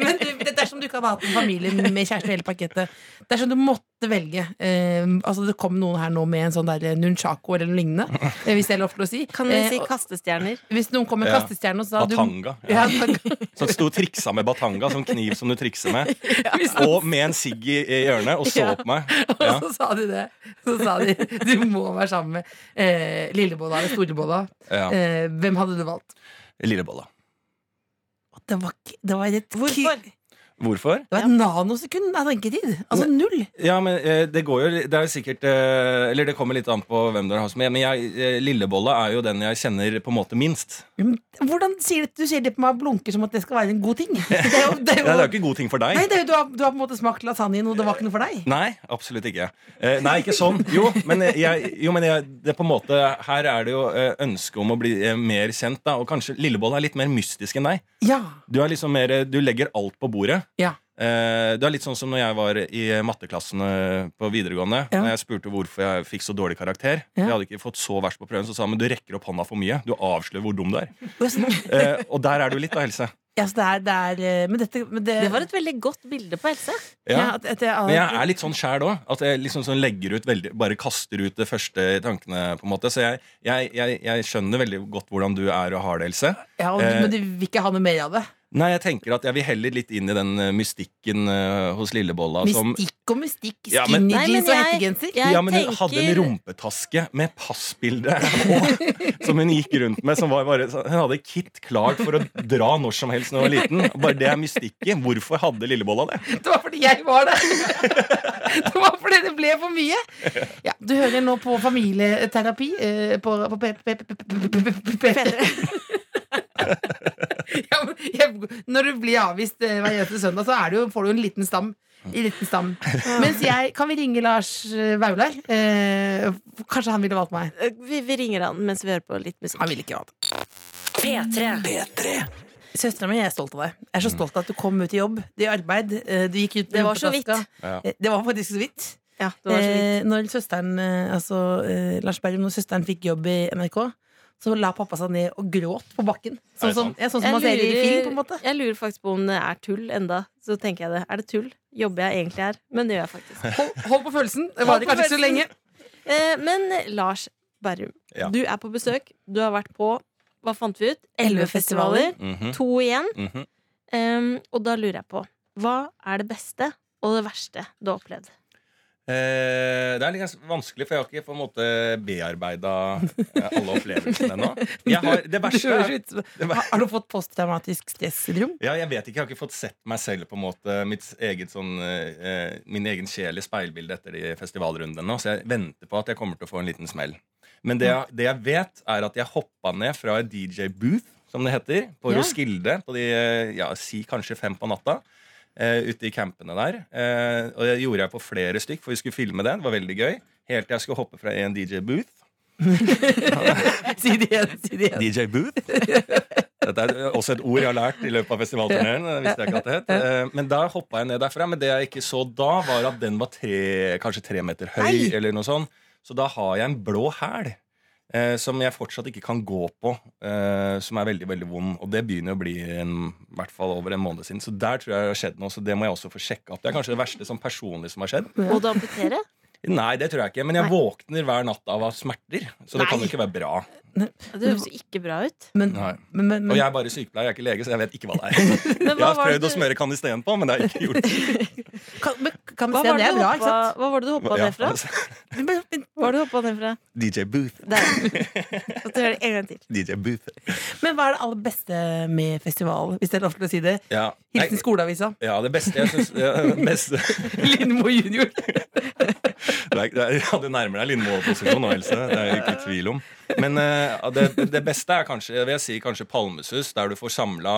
Speaker 4: Men du, det er som du ikke hadde hatt en familie med kjæreste og hele pakketet. Det er som du måtte velge. Eh, altså Det kom noen her nå med en sånn der nunchako eller noe lignende. eh, Hvis det er lov til å si.
Speaker 3: Kan vi
Speaker 4: Eh,
Speaker 3: si
Speaker 4: og-
Speaker 3: kastestjerner?
Speaker 4: hvis noen kom med
Speaker 6: Ja.
Speaker 4: kastestjerne og sa du-
Speaker 6: Batanga. Ja.
Speaker 4: Ja, takk.
Speaker 6: Som sto og triksa med batanga, som kniv som du trikser med. Og med en sigg i i hjørnet, og så
Speaker 4: Ja.
Speaker 6: på meg.
Speaker 4: Og
Speaker 6: Ja.
Speaker 4: så sa de det. Så sa de du må være sammen med eh, lillebolla eller storebolla.
Speaker 6: Ja.
Speaker 4: Eh, hvem hadde du valgt?
Speaker 6: Lillebolla.
Speaker 4: Og Det var, ikke- det var, et,
Speaker 3: Hvorfor?
Speaker 4: Det
Speaker 6: Hvorfor?
Speaker 4: var et nanosekund av tenketid. Altså null.
Speaker 6: Ja, men eh, det går jo Det er jo sikkert eh, Eller det kommer litt an på hvem dere har som Men jeg, eh, Lillebolla er jo den jeg kjenner på en måte minst.
Speaker 4: Hvordan sier det, Du sier det på meg og blunker som at det skal være en god ting. Det er jo, det er
Speaker 6: Ja, det er jo
Speaker 4: jo,
Speaker 6: ikke god ting for deg.
Speaker 4: nei, det er jo, du, har, du har på en måte smakt lasagnen, og det var ikke noe for deg.
Speaker 6: Nei, absolutt ikke. Eh, nei, ikke sånn. Jo, men, jeg, jo, men jeg, det er på en måte, her er det jo eh, ønske om å bli eh, mer kjent. Da. Og kanskje Lillebolla er litt mer mystisk enn deg.
Speaker 4: Ja,
Speaker 6: Du, er liksom mer, eh, du legger alt på bordet.
Speaker 4: Ja.
Speaker 6: Eh, du er litt sånn som når jeg var i matteklassen eh, på videregående.
Speaker 4: Ja.
Speaker 6: Når jeg spurte hvorfor jeg fikk så dårlig karakter.
Speaker 4: Ja.
Speaker 6: Jeg hadde ikke fått så verst på prøven, så sa han men du rekker opp hånda for mye. Du avslører hvor dum du er.
Speaker 4: Ja, så
Speaker 6: Eh, og der er du litt, da, Helse.
Speaker 4: ja, så det er, det er eh, Men dette men det,
Speaker 3: Det var et veldig godt bilde på Else.
Speaker 4: ja, at- at jeg-
Speaker 6: Men jeg er litt sånn sjæl òg. At jeg liksom sånn legger ut veldig Bare kaster ut det første i tankene. på en måte Så jeg, jeg, jeg, jeg skjønner veldig godt hvordan du er og har det, Else.
Speaker 4: ja, og,
Speaker 6: eh,
Speaker 4: Men du vil ikke ha noe mer av det?
Speaker 6: Nei, jeg tenker at jeg vil heller litt inn i den eh, mystikken eh, hos Lillebolla som
Speaker 4: Mystikk og mystikk.
Speaker 6: Ja, men-
Speaker 4: Skinny
Speaker 3: Nei, men
Speaker 4: jeans og
Speaker 3: jeg-
Speaker 4: hettegenser.
Speaker 3: jeg
Speaker 6: ja, men hun hadde en
Speaker 3: tenker-
Speaker 6: rumpetaske med passbilde på, som hun gikk rundt med. Som var bare, så- hun hadde kit klart for å dra når som helst når hun var liten. Bare det er mystikken. Hvorfor hadde Lillebolla det?
Speaker 4: Det var fordi jeg var der. Det var fordi det ble for mye. Ja, du hører nå på familieterapi eh, på, på P- P- P- P- P- P- P3. Ja, men jeg- Når du blir avvist eh, hver eneste søndag, så er det jo, får du jo en liten stam. I liten stam. Mens jeg Kan vi ringe Lars eh, Vaular? Eh, kanskje han ville valgt meg.
Speaker 3: Eh, Vi, vi ringer han mens vi hører på litt musikk.
Speaker 4: ville ikke valgt
Speaker 1: P3.
Speaker 4: Søstera mi, jeg er stolt av deg. Jeg er så stolt av at du kom ut i jobb, i arbeid. eh, Du gikk ut med
Speaker 3: Det var så vidt.
Speaker 4: rumpetaska.
Speaker 6: Ja.
Speaker 4: Eh, Det var faktisk så vidt.
Speaker 3: Ja, det var så vidt.
Speaker 4: Eh, når søsteren, eh, altså eh, Lars Berrum, når søsteren fikk jobb i NRK, så la pappa seg ned og gråt på bakken.
Speaker 6: Er
Speaker 4: Sånn
Speaker 6: det
Speaker 4: som,
Speaker 6: sant?
Speaker 4: ja, sånn som man ser i film, på en måte.
Speaker 3: jeg lurer faktisk på om det er tull enda Så tenker jeg det. Er det tull? Jobber jeg egentlig her? Men det gjør jeg faktisk.
Speaker 4: Hold, hold på følelsen. Det
Speaker 3: Hold
Speaker 4: varer
Speaker 3: på
Speaker 4: kanskje ikke så lenge.
Speaker 3: følelsen. Eh, men Lars Berrum,
Speaker 6: Ja.
Speaker 3: du er på besøk. Du har vært på hva fant vi ut? Elleve festivaler.
Speaker 6: Mhm,
Speaker 3: To igjen.
Speaker 6: mhm.
Speaker 3: Em, og da lurer jeg på hva er det beste og det verste du har opplevd?
Speaker 6: Eh, det er litt gans- vanskelig, for jeg har ikke på en måte bearbeida alle opplevelsene ennå. Jeg har- Det
Speaker 4: Det
Speaker 6: verste
Speaker 4: høres
Speaker 6: er
Speaker 4: ut som-
Speaker 6: det ver-
Speaker 4: Har- Har du fått posttraumatisk stressyndrom?
Speaker 6: ja, jeg vet ikke, jeg har ikke fått sett meg selv på en måte mitt eget sånn, eh, eh, min egen sjel i speilbildet etter de festivalrundene, nå, så jeg venter på at jeg kommer til å få en liten smell. Men det jeg, det jeg vet, er at jeg hoppa ned fra et DJ-booth, som det heter, på
Speaker 3: Ja.
Speaker 6: Roskilde på de, eh, ja, si kanskje fem på natta. eh, ute i campene der. Eh, og det gjorde jeg på flere stykk, for vi skulle filme det. Det var veldig gøy. Helt til jeg skulle hoppe fra en DJ-booth
Speaker 4: Si det igjen. Si det igjen.
Speaker 6: DJ Booth. Dette er også et ord jeg har lært i løpet av festivalturneen. det visste jeg ikke at det het. Eh, Men da hoppa jeg ned derfra. Men det jeg ikke så da, var at den var tre, kanskje tre meter høy.
Speaker 4: Nei.
Speaker 6: eller noe sånt. Så da har jeg en blå hæl. eh, som jeg fortsatt ikke kan gå på. eh, som er veldig veldig vond. Og det begynner å bli en, i hvert fall over en måned siden. Så der tror jeg det har skjedd noe. Så det må jeg også få sjekka opp. Det er kanskje det verste sånn personlig som har skjedd.
Speaker 3: Må du amputere?
Speaker 6: Nei, det tror jeg ikke. Men jeg
Speaker 3: Nei.
Speaker 6: våkner hver natt av smerter. Så det kan jo ikke være bra.
Speaker 3: Det høres jo ikke bra ut.
Speaker 4: Men,
Speaker 6: Nei.
Speaker 4: men, men,
Speaker 6: Og
Speaker 4: men
Speaker 6: jeg er bare sykepleier, jeg er ikke lege, så jeg vet ikke hva det er.
Speaker 3: Men
Speaker 6: Jeg har
Speaker 3: var det
Speaker 6: prøvd å
Speaker 3: du-
Speaker 6: smøre kanisten på, men det har jeg ikke gjort.
Speaker 4: kan, men, kan vi
Speaker 3: hva
Speaker 4: se
Speaker 3: var
Speaker 4: det
Speaker 3: det
Speaker 4: er
Speaker 3: du
Speaker 4: bra, ikke
Speaker 3: hoppa-
Speaker 4: sant?
Speaker 3: hva var det du hoppa
Speaker 6: Ja,
Speaker 3: ned fra?
Speaker 6: altså,
Speaker 4: Men, men, men,
Speaker 3: Hva var det du hoppa ned fra?
Speaker 6: DJ Booth.
Speaker 3: Der. At du gjør det en gang til.
Speaker 6: DJ Booth.
Speaker 4: men hva er det aller beste med festivalen, hvis det er lov til å si det?
Speaker 6: Ja. Nei,
Speaker 4: Hilsen skoleavisa.
Speaker 6: ja, det beste jeg syns det beste-
Speaker 4: Lindmo junior.
Speaker 6: det er- det er- Ja, du nærmer deg Lindmo-posisjon nå, Else. Det er jeg ikke i tvil om. Men eh, det, det beste er kanskje jeg vil si kanskje Palmesus, der du får samla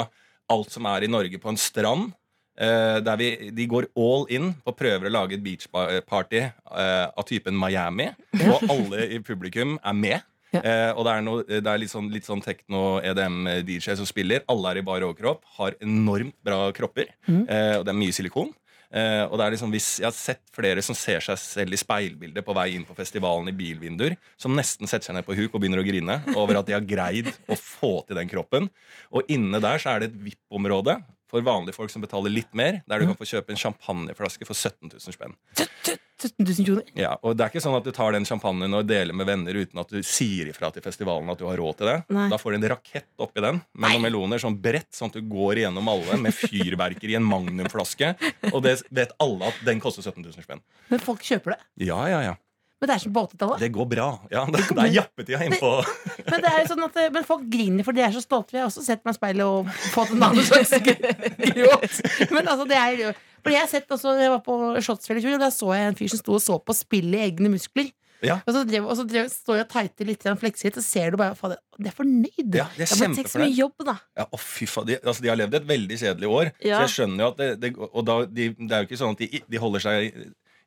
Speaker 6: alt som er i Norge, på en strand. eh, der vi, De går all in og prøver å lage et beachparty eh, av typen Miami. Og alle i publikum er med. Eh, og det er, noe, det er litt sånn, litt sånn tekno-EDM-DJ som spiller. Alle er i bar overkropp, har enormt bra kropper. Eh, og det er mye silikon. Eh, og det er liksom, hvis Jeg har sett flere som ser seg selv i speilbildet på vei inn på festivalen i bilvinduer, som nesten setter seg ned på huk og begynner å grine over at de har greid å få til den kroppen. Og inne der så er det et VIP-område for vanlige folk som betaler litt mer, der du kan få kjøpe en champagneflaske for 17 000 spenn.
Speaker 4: 17 000 kroner.
Speaker 6: Ja, og det er ikke sånn at du tar den champagnen og deler med venner uten at du sier ifra til festivalen at du har råd til det.
Speaker 3: Nei.
Speaker 6: Da får du en rakett oppi den med noen meloner sånn bredt, sånn at du går igjennom alle med fyrverkeri i en magnumflaske. Og det vet alle at den koster 17 000 spenn.
Speaker 4: Men folk kjøper det.
Speaker 6: Ja, ja, ja.
Speaker 4: Men det er som på 80-tallet.
Speaker 6: Det går bra. Ja, det, det er jappetida innpå.
Speaker 4: Men, det er jo sånn at, men folk griner, for de er så stolte. Jeg har også sett meg i speilet og fått en annen slags gråt. Men altså, det er jo Fordi jeg har sett også, jeg var på Slottsfjell i fjor, og da så jeg en fyr som sto og så på spillet i egne muskler.
Speaker 6: Ja.
Speaker 4: Og så, drev, og så drev, står jeg og tighter litt grann fleksibilitet, så ser du bare faen, det er fornøyd.
Speaker 6: Ja, det er
Speaker 3: Ja, men tenk så mye
Speaker 6: kjempefornøyd.
Speaker 3: jobb, da.
Speaker 6: Ja, å, fy faen. De, altså, de har levd et veldig kjedelig år,
Speaker 3: Ja.
Speaker 6: så jeg skjønner jo at det, det Og da, de, det er jo ikke sånn at de, de holder seg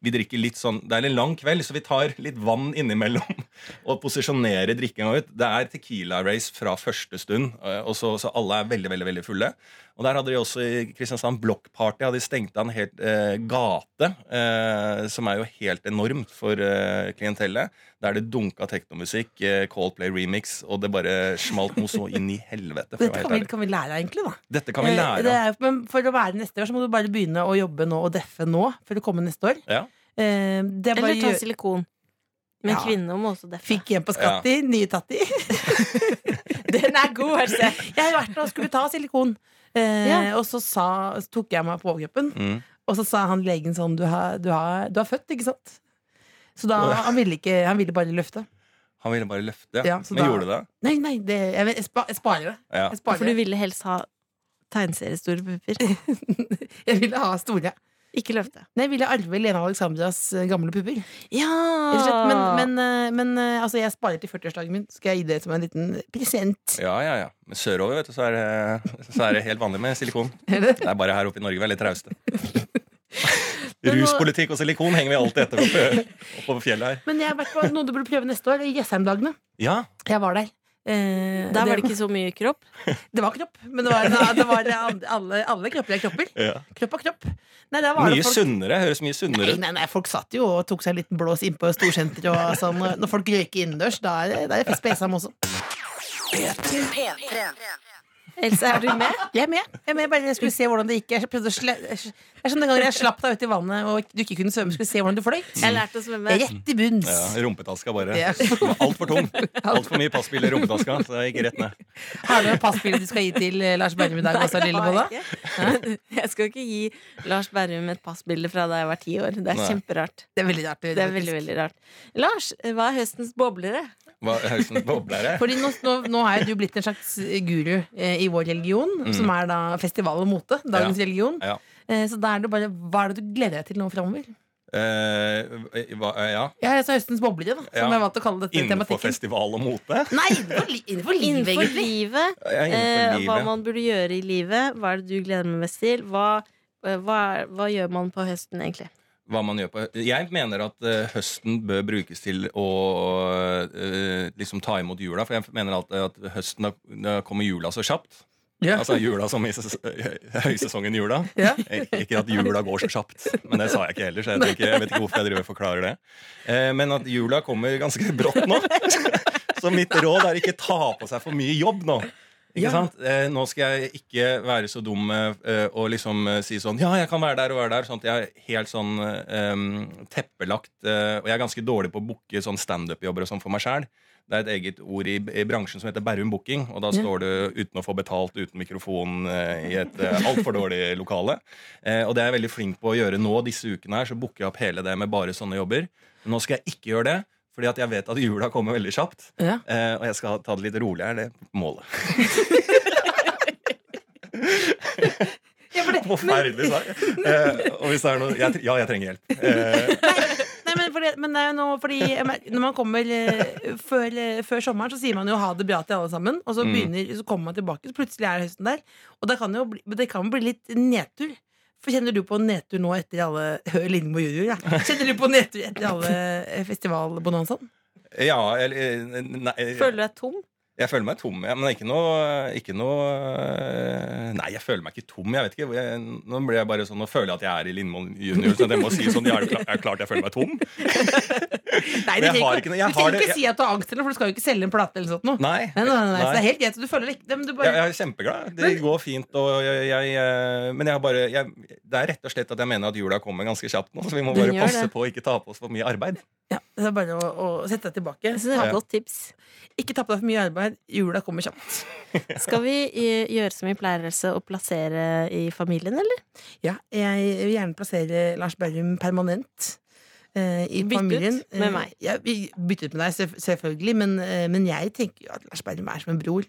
Speaker 6: Vi drikker litt sånn Det er en lang kveld, så vi tar litt vann innimellom og posisjonerer drikkinga ut. Det er Tequila-race fra første stund, eh, og så, så alle er veldig, veldig veldig fulle. Og der hadde de også i Kristiansand blokkparty. Hadde de stengt av en helt eh, gate, eh, som er jo helt enormt for eh, klientellet. Der det dunka teknomusikk, eh, Coldplay remix, og det bare smalt noe så inn i helvete. For å
Speaker 4: Dette
Speaker 6: være
Speaker 4: kan
Speaker 6: helt
Speaker 4: vi,
Speaker 6: ærlig.
Speaker 4: kan vi lære av, egentlig. da
Speaker 6: Dette kan vi
Speaker 4: Eh,
Speaker 6: lære
Speaker 4: det
Speaker 6: av.
Speaker 4: er, jo- Men for å være neste år, så må du bare begynne å jobbe nå og deffe nå, for å komme neste år.
Speaker 6: Ja.
Speaker 4: Eh, det er bare
Speaker 3: Eller
Speaker 4: å
Speaker 3: ta
Speaker 4: gjøre-
Speaker 3: silikon. Men
Speaker 4: Ja.
Speaker 3: kvinner må også deffe.
Speaker 4: Fikk en på skatt i, nye tatt i. Den er god, helse. Jeg har vært og skulle ta silikon. Eh,
Speaker 3: Ja.
Speaker 4: Og så sa, så tok jeg meg på overkroppen,
Speaker 6: Mm.
Speaker 4: og så sa han legen sånn Du har, du har, du har født, ikke sant? Så da, han ville, ikke, han ville bare løfte.
Speaker 6: Han ville bare løfte.
Speaker 4: Ja, så
Speaker 6: Men
Speaker 4: da-
Speaker 6: gjorde du det?
Speaker 4: Nei, nei, det, jeg, vet- jeg, spa, jeg sparer det.
Speaker 6: Ja.
Speaker 4: Jeg,
Speaker 3: For
Speaker 4: sparer
Speaker 3: du
Speaker 4: det.
Speaker 3: ville helst ha tegneseriestore pupper.
Speaker 4: jeg ville ha store.
Speaker 3: Ikke løfte.
Speaker 4: Nei, jeg ville arve Lena Alexandras eh, gamle pupper.
Speaker 3: Ja!
Speaker 4: Rett og slett. Men, men, eh, men eh, altså, jeg sparer til 40-årsdagen min. Skal jeg gi det som en liten present?
Speaker 6: Ja, ja, ja. Men sørover vet du, så er, det, så er det helt vanlig med silikon. Det er bare her oppe i Norge vi er litt trauste. Ruspolitikk og silikon henger vi alltid etter oppe, oppe på fjellet her.
Speaker 4: Men jeg har vært på noe du burde prøve neste år. Jessheim-dagene.
Speaker 6: Ja,
Speaker 4: Jeg var der. Eh,
Speaker 3: Der var det ikke så mye kropp.
Speaker 4: Det var kropp, men det var, det var alle, alle kropper er kropper.
Speaker 6: ja.
Speaker 4: Kropp er kropp. Nei, der var det
Speaker 6: Mye
Speaker 4: folk-
Speaker 6: sunnere. Høres
Speaker 4: Nei,
Speaker 6: mye sunnere ut.
Speaker 4: nei, nei, folk satt jo og tok seg en liten blås innpå storsenteret. og Sånn. Når- Når folk røyker innendørs, da er det, da er det fest på Esam også.
Speaker 3: Else, er du med?
Speaker 4: Jeg er med. Jeg er med, bare jeg skulle se hvordan det gikk. Jeg prøvde å sle... Det er som den gangen jeg slapp deg ut i vannet og du ikke kunne svømme. Skulle se hvordan du fløyt.
Speaker 3: Jeg lærte å svømme.
Speaker 4: Rett i bunns.
Speaker 6: Mm. Ja, rumpetaska bare.
Speaker 4: Ja.
Speaker 6: Altfor tung. Altfor mye passbil i rumpetaska, så jeg gikk rett ned.
Speaker 4: Har du noen passbilde du skal gi til eh, Lars Berrum i dag?
Speaker 3: Nei,
Speaker 4: Også,
Speaker 3: det har
Speaker 4: Lillebolla?
Speaker 3: jeg ikke. Jeg skal ikke gi Lars Berrum et passbilde fra da jeg var ti år. Det er
Speaker 6: Nei.
Speaker 3: kjemperart.
Speaker 4: Det er veldig rart.
Speaker 3: Det er veldig, veldig rart. Lars, hva er høstens boblere?
Speaker 6: Hva, høres en boblere?
Speaker 4: Fordi nå, nå, nå er jo du blitt en slags guru eh, i vår religion, som er da festival og mote. Dagens
Speaker 6: Mm. Ja.
Speaker 4: religion.
Speaker 6: Ja.
Speaker 4: Eh, så da er det bare hva er det du gleder deg til nå framover?
Speaker 6: Eh, hva, eh, ja.
Speaker 4: Ja, altså høstens boblere, da, som
Speaker 6: Ja.
Speaker 4: jeg valgte å kalle dette
Speaker 6: Innenfor
Speaker 4: tematikken.
Speaker 6: festival og mote?
Speaker 4: Nei, innenfor, li innenfor livet,
Speaker 3: Innenfor
Speaker 4: egentlig.
Speaker 3: livet.
Speaker 6: Ja, innenfor
Speaker 3: Eh, hva
Speaker 6: livet.
Speaker 3: man burde gjøre i livet. Hva er det du gleder deg mest til? Hva, eh, hva, er- hva gjør man på høsten, egentlig?
Speaker 6: hva man gjør på Jeg mener at eh, høsten bør brukes til å eh, liksom ta imot jula. For jeg mener alltid at høsten, da, da kommer jula så kjapt.
Speaker 4: Ja.
Speaker 6: Altså jula som i ses- eh, høysesongen jula.
Speaker 4: Ja.
Speaker 6: Ik- Ikke at jula går så kjapt, men det sa jeg ikke heller. Så jeg, vet ikke, jeg vet ikke hvorfor jeg driver og forklarer det. Eh, Men at jula kommer ganske brått nå. Så mitt råd er ikke ta på seg for mye jobb nå. Ikke
Speaker 4: Ja.
Speaker 6: sant? Eh, nå skal jeg ikke være så dum eh, og liksom eh, si sånn Ja, jeg kan være der og være der. Sånn at jeg er helt sånn eh, em, teppelagt. Eh, og jeg er ganske dårlig på å booke sånn standup-jobber og sånn for meg sjæl. Det er et eget ord i, i bransjen som heter Berrum Booking. Og da
Speaker 4: Ja.
Speaker 6: står du uten å få betalt, uten mikrofon, eh, i et eh, altfor dårlig lokale. Eh, og det er jeg veldig flink på å gjøre nå disse ukene her. Så booker jeg opp hele det med bare sånne jobber. Men nå skal jeg ikke gjøre det, fordi at jeg vet at jula kommer veldig kjapt.
Speaker 4: Ja.
Speaker 6: Eh, og jeg skal ta det litt rolig her, det er målet.
Speaker 4: Ja, for det, men,
Speaker 6: Forferdelig sagt. Eh, og hvis det er noe jeg, tre- Ja, jeg trenger hjelp. Eh,
Speaker 4: nei, men, for det, men det er jo nå fordi jeg mer- Når man kommer eh, før, eh, før sommeren, så sier man jo 'ha det bra' til alle sammen. Og
Speaker 6: Mm.
Speaker 4: så, begynner, så kommer man tilbake, så plutselig er høsten der. Og da kan det jo bli, det kan jo bli litt nedtur. For Kjenner du på nedtur nå etter alle Hør Lindmo junior, ja. Kjenner du på nedtur etter alle eh, festivalbonanzaen?
Speaker 6: ja, eller eh, Nei.
Speaker 3: Føler du deg tom?
Speaker 6: Jeg føler meg tom, ja, men ikke noe, ikke noe eh, Nei, jeg føler meg ikke tom. Jeg vet ikke, hvor jeg, Nå blir jeg bare sånn, nå føler jeg at jeg er i Lindmoen junior. Så jeg må si sånn, ja, er det kla- er det klart jeg føler meg tom?
Speaker 4: Nei,
Speaker 6: Men jeg
Speaker 4: du trenger
Speaker 6: har ikke
Speaker 4: ikke,
Speaker 6: noe- jeg
Speaker 4: du trenger
Speaker 6: har det-
Speaker 4: ikke si at du har angst, eller, for du skal jo ikke selge en plate eller sånt noe.
Speaker 6: Nei.
Speaker 4: Nei, nei, nei, nei, Så det
Speaker 6: Nei.
Speaker 4: er helt greit. så Du føler det ikke det, men du
Speaker 6: Jeg,
Speaker 4: bare
Speaker 6: jeg er kjempeglad. Det går fint. Og jeg, jeg, eh, men jeg har bare, jeg, det er rett og slett at jeg mener at jula kommer ganske kjapt nå. Så vi må
Speaker 3: Den
Speaker 6: bare
Speaker 3: gjør
Speaker 6: passe
Speaker 3: det.
Speaker 6: på å ikke ta på oss for mye arbeid.
Speaker 4: ja, Det er bare å, å sette deg tilbake.
Speaker 3: Jeg synes det var
Speaker 6: Ja.
Speaker 3: et godt tips.
Speaker 4: Ikke tappe deg for mye arbeid. Jula kommer kjapt.
Speaker 3: Skal vi eh, gjøre som vi pleier, Else, og plassere i familien, eller?
Speaker 4: Ja, jeg vil gjerne plassere Lars Berrum permanent. eh, I
Speaker 3: Bytte ut
Speaker 4: familien.
Speaker 3: med meg.
Speaker 4: Eh, ja, vi- bytte ut med deg, selv- selvfølgelig. Men, eh, men jeg tenker jo at Lars Berrum er som en bror.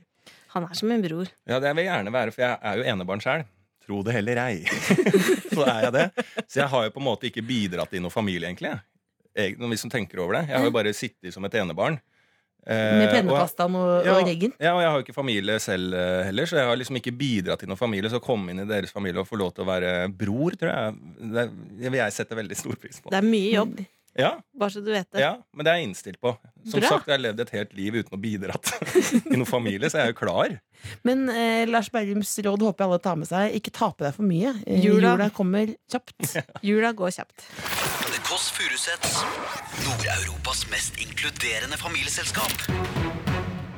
Speaker 3: Han er som en bror.
Speaker 6: Ja, det vil jeg gjerne være, for jeg er jo enebarn sjøl. Tro det heller ei. så er jeg det. Så jeg har jo på en måte ikke bidratt i noen familie, egentlig. Jeg, når vi som tenker over det. Jeg har jo bare sittet som et enebarn. Eh,
Speaker 4: Med
Speaker 6: og jeg-
Speaker 4: pennepastaen og,
Speaker 6: ja,
Speaker 4: og reggen.
Speaker 6: Ja, og jeg har jo ikke familie selv eh, heller, så jeg har liksom ikke bidratt til noen familie. Så å komme inn i deres familie og få lov til å være bror, tror jeg det, det vil jeg sette veldig stor pris på.
Speaker 3: Det er mye jobb,
Speaker 6: Ja,
Speaker 3: bare så du vet det.
Speaker 6: ja, men det er jeg innstilt på. Som
Speaker 3: Bra.
Speaker 6: sagt, jeg har levd et helt liv uten å bidratt i noen familie, så jeg er jo klar.
Speaker 4: Men eh, Lars Berrums råd håper jeg alle tar med seg. Ikke tape deg for mye. Eh,
Speaker 3: Jula.
Speaker 4: Jula kommer kjapt.
Speaker 3: Jula går kjapt.
Speaker 2: The Kåss Furuseths. Nord-Europas mest inkluderende familieselskap.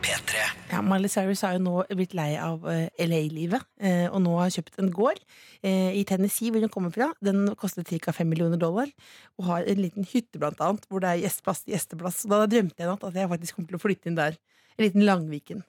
Speaker 2: P3.
Speaker 4: Ja, Miley Cyrus har jo nå blitt lei av eh, LA-livet, eh, og nå har hun kjøpt en gård eh, i Tennessee, hvor hun kommer fra. Den koster ca. 5 millioner dollar, og har en liten hytte, blant annet, hvor det er gjesteplass til gjesteplass. Og da drømte jeg i natt at jeg faktisk kommer til å flytte inn der. En liten Langviken.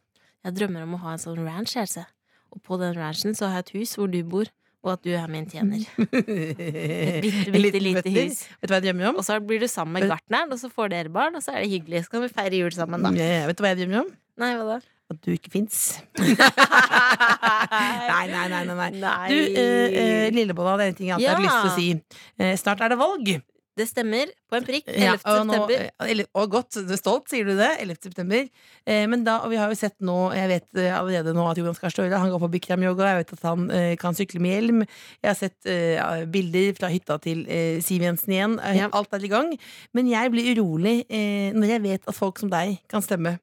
Speaker 3: Jeg drømmer om å ha en sånn ranch, Else. Og på den ranchen så har jeg et hus hvor du bor, og at du er min tjener.
Speaker 4: Et
Speaker 3: bitte, bitte lite hus.
Speaker 4: Vet du hva jeg drømmer om?
Speaker 3: Og så blir du sammen med gartneren, og så får dere barn, og så er det hyggelig. Så kan vi feire jul sammen, da.
Speaker 4: Ja, vet du hva jeg drømmer om?
Speaker 3: Nei, hva da?
Speaker 4: At du ikke fins.
Speaker 3: nei,
Speaker 4: Nei, nei, nei. nei, nei.
Speaker 3: nei.
Speaker 4: Du, eh, eh, Lillebolla, det er en ting jeg alltid har
Speaker 3: Ja.
Speaker 4: lyst til å si. Eh, snart er det valg.
Speaker 3: Det stemmer. På en prikk. 11.
Speaker 4: Ja, og nå-
Speaker 3: september.
Speaker 4: eh, eller- og godt, du er stolt, sier du det? 11. september. Eh, men da, og vi har jo sett nå, jeg vet eh, allerede nå at Jonas Gahr Støre han går på Bikram-yoga, jeg vet at han eh, kan sykle med hjelm. Jeg har sett eh, bilder fra hytta til eh, Siv Jensen igjen. Eh,
Speaker 3: Ja.
Speaker 4: Alt er i gang. Men jeg blir urolig eh, når jeg vet at folk som deg kan stemme.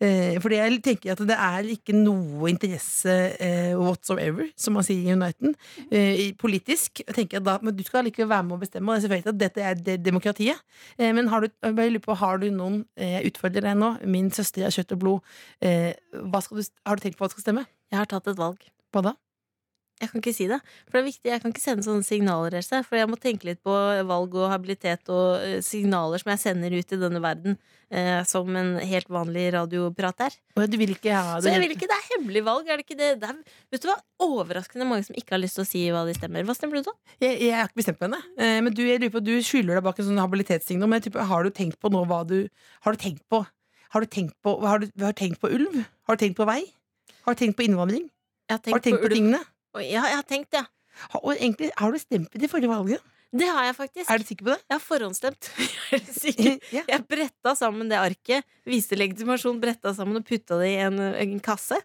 Speaker 4: Eh, fordi jeg tenker at det er ikke noe interesse eh, whatsoever, som man sier i Uniten, eh, i- politisk. Jeg tenker at da, Men du skal allikevel være med å bestemme, og det er selvfølgelig at dette er de- demokratiet. Eh, Men har du, jeg bare lurer på, har du noen eh, Jeg utfordrer deg nå. Min søster er kjøtt og blod. Eh, Hva skal du, har du tenkt på hva du skal stemme?
Speaker 3: Jeg har tatt et valg.
Speaker 4: På da?
Speaker 3: Jeg kan ikke si det. For det er viktig, Jeg kan ikke sende sånne signaler. Else, For jeg må tenke litt på valg og habilitet og eh, signaler som jeg sender ut i denne verden. Eh, som en helt vanlig radioprat er.
Speaker 4: Å, Du vil ikke ha
Speaker 3: Så jeg vil ikke, Det er hemmelig valg. er det ikke det? det er, vet du hva? Overraskende mange som ikke har lyst til å si hva de stemmer. Hva stemmer du, da?
Speaker 4: Jeg, jeg har ikke bestemt meg ennå. Eh, Men du, jeg lurer på, du skjuler deg bak en sånn habilitetssignal. Men jeg typer, har du tenkt på nå hva du Har du tenkt på Har du tenkt på, har du, har du tenkt på ulv? Har du tenkt på vei? Har du tenkt på innvandring?
Speaker 3: Jeg har
Speaker 4: har du tenkt på,
Speaker 3: ulv.
Speaker 4: tingene?
Speaker 3: Oi, Ja, jeg har tenkt, ja.
Speaker 4: Har, og egentlig, har du stemt i de forrige valgene?
Speaker 3: Det har jeg faktisk.
Speaker 4: Er du sikker på det?
Speaker 3: Jeg har forhåndsstemt. Jeg er sikker.
Speaker 4: ja.
Speaker 3: Jeg bretta sammen det arket, viste legitimasjon, bretta sammen og putta det i en, en kasse.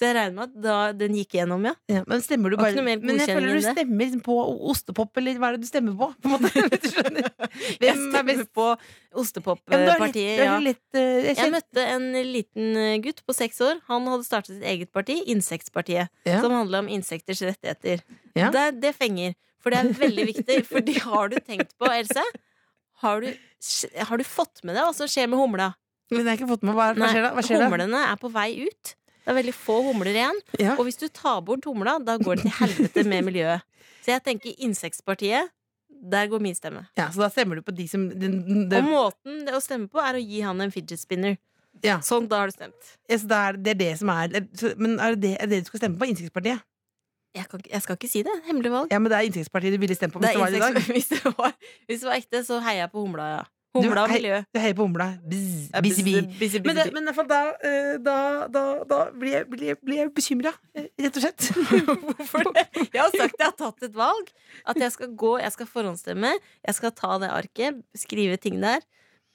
Speaker 3: Så jeg regner med at da den gikk gjennom, ja.
Speaker 4: Ja, men stemmer du
Speaker 3: Var
Speaker 4: bare
Speaker 3: ikke noe mer
Speaker 4: Men jeg føler du
Speaker 3: godkjenning enn
Speaker 4: stemmer liksom på ostepop, eller hva er det du stemmer på? på en måte, hvis du skjønner.
Speaker 3: Jeg
Speaker 4: Hvem er
Speaker 3: stemmer
Speaker 4: best?
Speaker 3: på
Speaker 4: Ja, men du har litt-
Speaker 3: ostepoppartiet,
Speaker 4: du
Speaker 3: ja.
Speaker 4: har litt, eh, jeg
Speaker 3: Jeg
Speaker 4: kjenner-
Speaker 3: møtte en liten eh, gutt på seks år. Han hadde startet sitt eget parti, Insektpartiet,
Speaker 4: Ja.
Speaker 3: som handla om insekters rettigheter.
Speaker 4: Ja.
Speaker 3: Det, det fenger. For det er veldig viktig. Fordi har du tenkt på, Else har du, har du fått med deg hva som skjer med humla?
Speaker 4: Men jeg har ikke fått med hva, hva
Speaker 3: Nei,
Speaker 4: skjer da? Hva skjer da?
Speaker 3: humlene er på vei ut. Det er veldig få humler igjen.
Speaker 4: Ja.
Speaker 3: Og hvis du tar bort humla, da går det til helvete med miljøet. Så jeg tenker Insektpartiet, der går min stemme.
Speaker 4: ja, Så da stemmer du på de som den- den- det,
Speaker 3: Og måten det å stemme på er å gi han en fidget spinner.
Speaker 4: Ja.
Speaker 3: Sånn, da har du stemt.
Speaker 4: ja, så da er det, det er det som er så- Men er det, er det du skal stemme på? Innsiktspartiet?
Speaker 3: Jeg, kan, ikke- jeg skal ikke si det. Hemmelig valg.
Speaker 4: Ja, men det er Innsiktspartiet du ville stemme på
Speaker 3: Det
Speaker 4: hvis det,
Speaker 3: er
Speaker 4: var det i dag.
Speaker 3: insekts- hvis, det var, hvis det var ekte, så heier jeg på humla, ja.
Speaker 4: Du-
Speaker 3: Humla og
Speaker 4: hei-
Speaker 3: miljø.
Speaker 4: Du heier på humla. Bzz,
Speaker 3: Ja,
Speaker 4: bzz, bzz.
Speaker 3: bisse, bisse,
Speaker 4: Men,
Speaker 3: bisse.
Speaker 4: det, men i hvert fall da, eh, da, da, da blir jeg, blir jeg, blir jeg bekymra, eh, rett og slett.
Speaker 3: Hvorfor det? Jeg har sagt jeg har tatt et valg. At jeg skal gå, jeg skal forhåndsstemme. Jeg skal ta det arket, skrive ting der,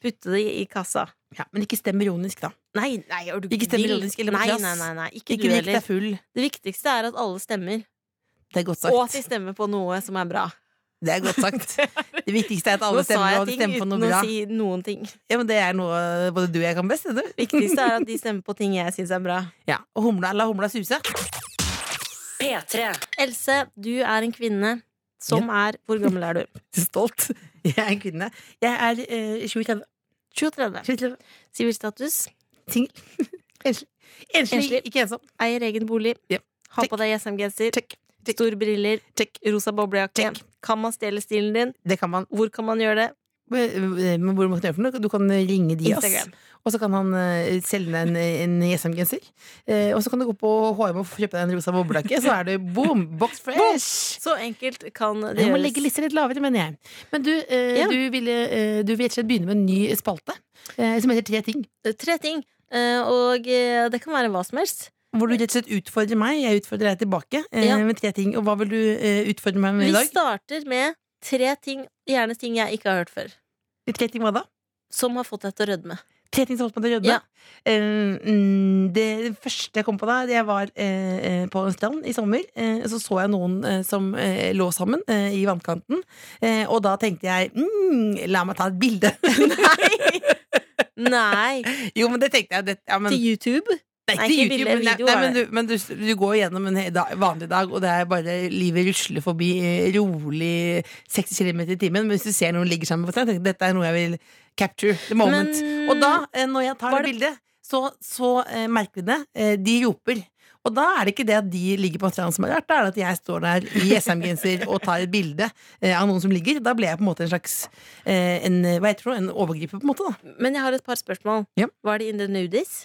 Speaker 3: putte det i kassa.
Speaker 4: Ja, men ikke stem ironisk, da.
Speaker 3: Nei, nei, er du
Speaker 4: Ikke stem
Speaker 3: vill?
Speaker 4: ironisk eller på
Speaker 3: nei,
Speaker 4: trass.
Speaker 3: nei, nei, nei, ikke,
Speaker 4: Ikke
Speaker 3: du
Speaker 4: drikk deg
Speaker 3: heller.
Speaker 4: full.
Speaker 3: Det viktigste er at alle stemmer,
Speaker 4: Det er godt
Speaker 3: og at de stemmer på noe som er bra.
Speaker 4: Det er godt sagt. Det viktigste er at alle
Speaker 3: Nå sa
Speaker 4: stemmer, og
Speaker 3: jeg
Speaker 4: de
Speaker 3: ting
Speaker 4: stemmer på noe
Speaker 3: uten å
Speaker 4: bra.
Speaker 3: si noen ting.
Speaker 4: Ja, men det er noe både du og jeg kan best. Det.
Speaker 3: viktigste er at de stemmer på ting jeg syns er bra.
Speaker 4: Ja, og humla, la humla suse.
Speaker 1: P3.
Speaker 3: Else, du er en kvinne som er Hvor gammel er du?
Speaker 4: Stolt. Jeg er en kvinne. Jeg er eh, 37.
Speaker 3: 37.
Speaker 4: 37.
Speaker 3: Sivilstatus.
Speaker 4: Singel. Enslig. Enslig.
Speaker 3: Enslig.
Speaker 4: Ikke ensom.
Speaker 3: Eier egen bolig.
Speaker 4: Ja.
Speaker 3: Har
Speaker 4: Check.
Speaker 3: på deg GSM-genser.
Speaker 4: Check. Check.
Speaker 3: Store briller.
Speaker 4: Check.
Speaker 3: Rosa boblejakke.
Speaker 4: Check.
Speaker 3: Kan man stjele stilen din?
Speaker 4: Det kan man. Eh,
Speaker 3: Hvor kan man gjøre det?
Speaker 4: Men hvor må man gjøre for noe? Du kan ringe de, ass.
Speaker 3: Instagram.
Speaker 4: Og så kan han eh, selge deg en, en GSM-genser. Eh, og så kan du gå på HM og kjøpe deg en rosa boblejakke, så er du boom! Box fresh!
Speaker 3: Så enkelt kan det
Speaker 4: Jeg må
Speaker 3: gjøres.
Speaker 4: legge lista litt lavere, mener jeg. Men du, eh,
Speaker 3: Ja.
Speaker 4: du, ville, eh, du vil rett og slett begynne med en ny spalte eh, som heter Tre ting.
Speaker 3: Eh, Tre ting. Eh, Og eh, det kan være hva som helst.
Speaker 4: Hvor du rett og slett utfordrer meg, jeg utfordrer deg tilbake eh,
Speaker 3: Ja.
Speaker 4: med tre ting. Og hva vil du eh, utfordre meg med
Speaker 3: Vi
Speaker 4: i dag?
Speaker 3: starter med tre ting, gjerne ting jeg ikke har hørt før,
Speaker 4: Tre ting hva da?
Speaker 3: som har fått deg til å rødme.
Speaker 4: Tre ting som holdt meg til å rødme.
Speaker 3: Ja.
Speaker 4: Eh, mm, det første jeg kom på da, det jeg var eh, eh, på en strand i sommer. eh, Så så jeg noen eh, som eh, lå sammen eh, i vannkanten. eh, Og da tenkte jeg mm, la meg ta et bilde.
Speaker 3: Nei!
Speaker 4: jo, men det tenkte jeg. Det, ja, men,
Speaker 3: Til YouTube?
Speaker 4: Det er
Speaker 3: Nei, ikke
Speaker 4: ikke YouTube,
Speaker 3: bilder,
Speaker 4: men,
Speaker 3: video
Speaker 4: nei,
Speaker 3: er
Speaker 4: men, du, men du, du går gjennom en he- da, vanlig dag, og det er bare livet rusler forbi eh, rolig 60 km i timen. Men hvis du ser noen ligger sammen på stranden, tenker du, dette er noe jeg vil capture the moment.
Speaker 3: Men-
Speaker 4: og da, eh, når jeg tar
Speaker 3: Var
Speaker 4: det bildet, så, så eh, merker vi det. Eh, de roper. Og da er det ikke det at de ligger på en strand som er rart, da er det at jeg står der i SM-genser og tar et bilde eh, av noen som ligger. Da ble jeg på en måte en slags eh, en, eh, hva heter det, for noe? en overgriper, på en måte. da
Speaker 3: Men jeg har et par spørsmål.
Speaker 4: Ja.
Speaker 3: Var det in the nudies?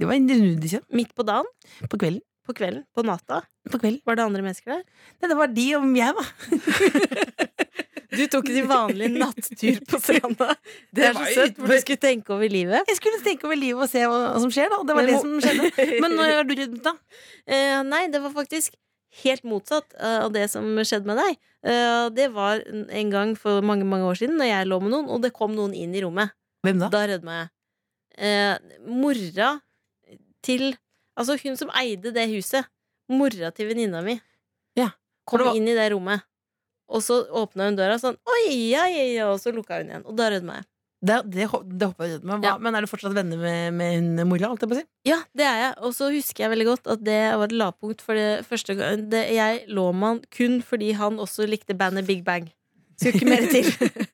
Speaker 4: Det var en nudekjøp
Speaker 3: Midt på dagen,
Speaker 4: på kvelden.
Speaker 3: på kvelden, på natta.
Speaker 4: På kvelden.
Speaker 3: Var det andre mennesker der?
Speaker 4: Nei, det var de og jeg, da.
Speaker 3: Du tok din vanlige nattur på stranda. Det er så
Speaker 4: var jo
Speaker 3: søtt,
Speaker 4: litt-
Speaker 3: for du skulle tenke over livet.
Speaker 4: Jeg skulle tenke over livet og se hva, hva som skjer, da. Og det var det som skjedde. Men når har du ryddet, da?
Speaker 3: Eh, nei, det var faktisk helt motsatt eh, av det som skjedde med deg. Eh, det var en- en gang for mange mange år siden når jeg lå med noen, og det kom noen inn i rommet.
Speaker 4: Hvem da?
Speaker 3: Da rødma jeg. Eh, mora til Altså hun som eide det huset. Mora til venninna mi.
Speaker 4: Ja, for
Speaker 3: Kom
Speaker 4: det var-
Speaker 3: inn i det rommet. Og så åpna hun døra sånn, oi, ja, ja, ja, og så lukka hun igjen. Og da rødma jeg.
Speaker 4: Det, det, hop- det hoppa jeg ut med.
Speaker 3: Ja.
Speaker 4: Hva, Men er du fortsatt venner med, med hun mora? Holdt jeg på å si?
Speaker 3: Ja, det er jeg. Og så husker jeg veldig godt at det var et lavpunkt. For det første gang det, Jeg lå med han kun fordi han også likte bandet Big Bang. Skulle ikke mer til.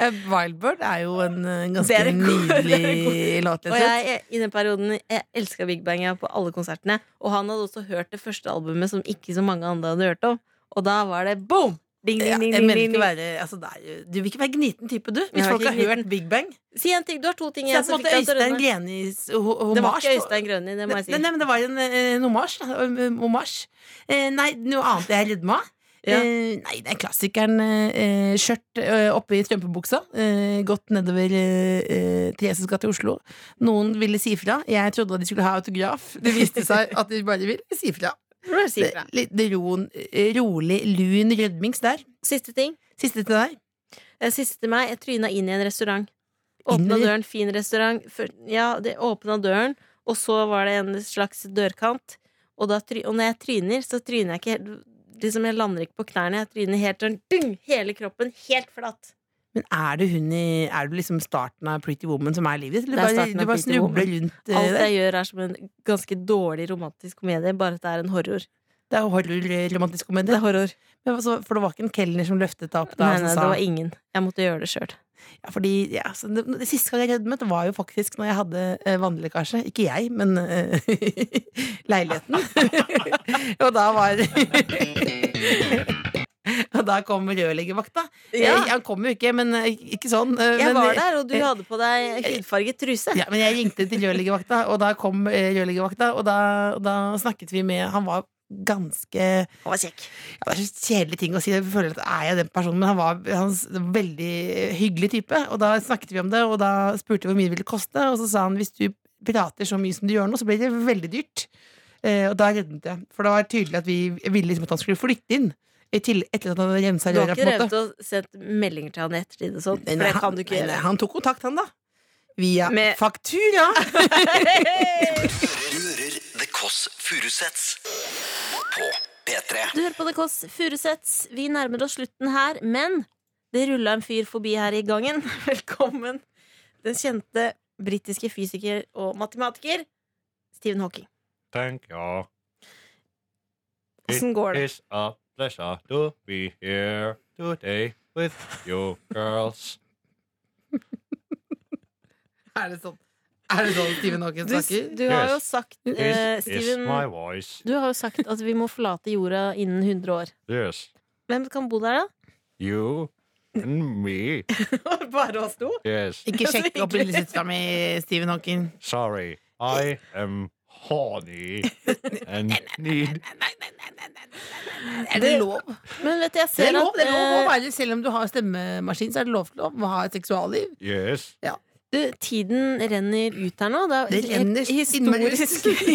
Speaker 4: Eh, Wildbird er jo en eh,
Speaker 3: Det
Speaker 4: ganske
Speaker 3: er en god-
Speaker 4: nydelig låt.
Speaker 3: Og jeg, i den perioden jeg elska Big Bang jeg var på alle konsertene. Og han hadde også hørt det første albumet som ikke så mange andre hadde hørt om. Og da var det boom! Ding,
Speaker 4: Ja,
Speaker 3: ding, ding,
Speaker 4: jeg
Speaker 3: ding,
Speaker 4: mener
Speaker 3: ding,
Speaker 4: ikke
Speaker 3: ding.
Speaker 4: være altså, det er jo, Du vil ikke være gniten type, du.
Speaker 3: Jeg
Speaker 4: Hvis
Speaker 3: var
Speaker 4: folk
Speaker 3: ikke
Speaker 4: har
Speaker 3: gniten.
Speaker 4: hørt Big Bang.
Speaker 3: Si en ting. Du har to ting
Speaker 4: Så
Speaker 3: igjen
Speaker 4: jeg
Speaker 3: som
Speaker 4: måtte
Speaker 3: fikk deg til å
Speaker 4: Øystein
Speaker 3: rødme.
Speaker 4: Grenis ho-
Speaker 3: Det var
Speaker 4: homasj.
Speaker 3: ikke Øystein Grønni, det må jeg
Speaker 4: Nei,
Speaker 3: si.
Speaker 4: nei, men det var en, eh, en homasj. da. Om- om- homasj. Eh, nei, noe annet jeg rødma av.
Speaker 3: Ja.
Speaker 4: Eh, nei, det er klassikeren eh, skjørt eh, oppe i strømpebuksa. Eh, gått nedover eh, eh, Thereses gate i Oslo. Noen ville si fra. Jeg trodde at de skulle ha autograf. Det viste seg at de bare ville si fra.
Speaker 3: Bare si
Speaker 4: Det-
Speaker 3: fra.
Speaker 4: Litt ro, rolig, lun rødmings der.
Speaker 3: Siste ting.
Speaker 4: Siste til deg.
Speaker 3: Eh, Siste til meg, jeg tryna inn i en restaurant.
Speaker 4: Inn
Speaker 3: Åpna
Speaker 4: i-
Speaker 3: døren, fin restaurant. Før- Ja, det åpna døren, og så var det en slags dørkant. Og, da, try- og når jeg tryner, så tryner jeg ikke helt Liksom Jeg lander ikke på knærne. Jeg tryner helt sånn dung, hele kroppen, helt flatt.
Speaker 4: Men er du hun i Er du liksom starten av Pretty Woman som er livet ditt?
Speaker 3: Det er
Speaker 4: Eller du bare,
Speaker 3: starten av
Speaker 4: du bare
Speaker 3: Pretty Woman.
Speaker 4: snubler rundt eh,
Speaker 3: Alt
Speaker 4: der?
Speaker 3: jeg gjør, er som en ganske dårlig romantisk komedie, bare at det er en horror.
Speaker 4: Det er horror-romantisk komedie.
Speaker 3: Det er horror.
Speaker 4: Men altså, For det var ikke en kelner som løftet deg opp da?
Speaker 3: Nei,
Speaker 4: som
Speaker 3: nei,
Speaker 4: sa-
Speaker 3: det var ingen. Jeg måtte gjøre det sjøl.
Speaker 4: ja, fordi, ja, så det, det Siste gang jeg rødmet, var jo faktisk når jeg hadde eh, vannlekkasje. Ikke jeg, men eh, leiligheten. og da var Og da kom rørleggervakta.
Speaker 3: Ja.
Speaker 4: Eh, Han kom jo ikke, men eh, ikke sånn. eh,
Speaker 3: Jeg
Speaker 4: men,
Speaker 3: var der, og du
Speaker 4: eh,
Speaker 3: hadde på deg hudfarget truse.
Speaker 4: Ja, men jeg ringte til rørleggervakta, og da kom eh, rørleggervakta, og da, og da snakket vi med Han var ganske ja,
Speaker 3: Han var kjekk.
Speaker 4: Det er så kjedelige ting å si, jeg føler at er jeg den personen, men han var han s- en veldig hyggelig type. Og da snakket vi om det, og da spurte vi hvor mye det ville koste, og så sa han hvis du prater så mye som du gjør nå, så blir det veldig dyrt. Eh, og da rødmet jeg, for det var tydelig at vi ville liksom at han skulle flytte inn. i tillegg- Etter at han hadde rensa
Speaker 3: Du har
Speaker 4: røra, på
Speaker 3: ikke
Speaker 4: en måte.
Speaker 3: drevet og sendt meldinger til han i ettertid og sånt?
Speaker 4: Nei,
Speaker 3: For
Speaker 4: nei,
Speaker 3: det kan du ikke
Speaker 4: nei, nei,
Speaker 3: gjøre.
Speaker 4: han tok kontakt, han, da. Via
Speaker 3: Med-
Speaker 4: faktura!
Speaker 2: Du hører The Kåss Furuseths på P3.
Speaker 3: Du hører på The Kåss Furuseths. Vi nærmer oss slutten her, men det rulla en fyr forbi her i gangen. Velkommen. Den kjente britiske fysiker og matematiker Stephen Hawking.
Speaker 7: Thank you.
Speaker 3: Åssen går det?
Speaker 7: It's a pleasure to be here today with you girls.
Speaker 4: Er det sånn, er det sånn Stephen Hawking
Speaker 3: Du,
Speaker 4: snakker?
Speaker 3: du har jo sagt eh,
Speaker 7: This is
Speaker 3: Stephen,
Speaker 7: my voice.
Speaker 3: du har jo sagt at vi må forlate jorda innen 100 år.
Speaker 7: Yes.
Speaker 3: Hvem kan bo der, da?
Speaker 7: You and me.
Speaker 3: Bare oss to?
Speaker 7: Yes.
Speaker 4: ikke sjekk opp lillesøstera mi, Stephen Hawking.
Speaker 7: Sorry. I am horny and need.
Speaker 4: Er det lov?
Speaker 3: Men vet du, jeg
Speaker 4: Det
Speaker 3: ser
Speaker 4: er lov, det er lov å
Speaker 3: at eh,
Speaker 4: være, Selv om du har stemmemaskin, så er det lov til å ha et seksualliv.
Speaker 7: Yes.
Speaker 3: Du, eh, tiden renner ut her nå. Det er
Speaker 4: Det renner
Speaker 3: helt historisk,
Speaker 4: innmari-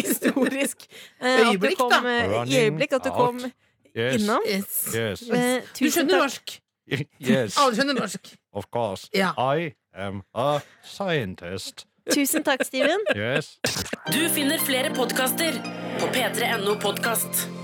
Speaker 3: historisk eh, at du
Speaker 4: Øyeblikk,
Speaker 3: kom,
Speaker 4: da.
Speaker 3: eh, I
Speaker 7: Running
Speaker 3: øyeblikk at du
Speaker 7: out.
Speaker 3: kom
Speaker 7: Yes.
Speaker 3: innom.
Speaker 4: Yes.
Speaker 7: Yes.
Speaker 3: Eh,
Speaker 4: Du
Speaker 3: tusen
Speaker 4: skjønner
Speaker 3: takk.
Speaker 4: norsk.
Speaker 7: Yes.
Speaker 4: Alle skjønner norsk.
Speaker 7: Of course.
Speaker 4: Ja.
Speaker 7: I am a scientist.
Speaker 3: Tusen takk, Steven.
Speaker 7: Yes.
Speaker 1: Du finner flere podkaster på p3.no podkast.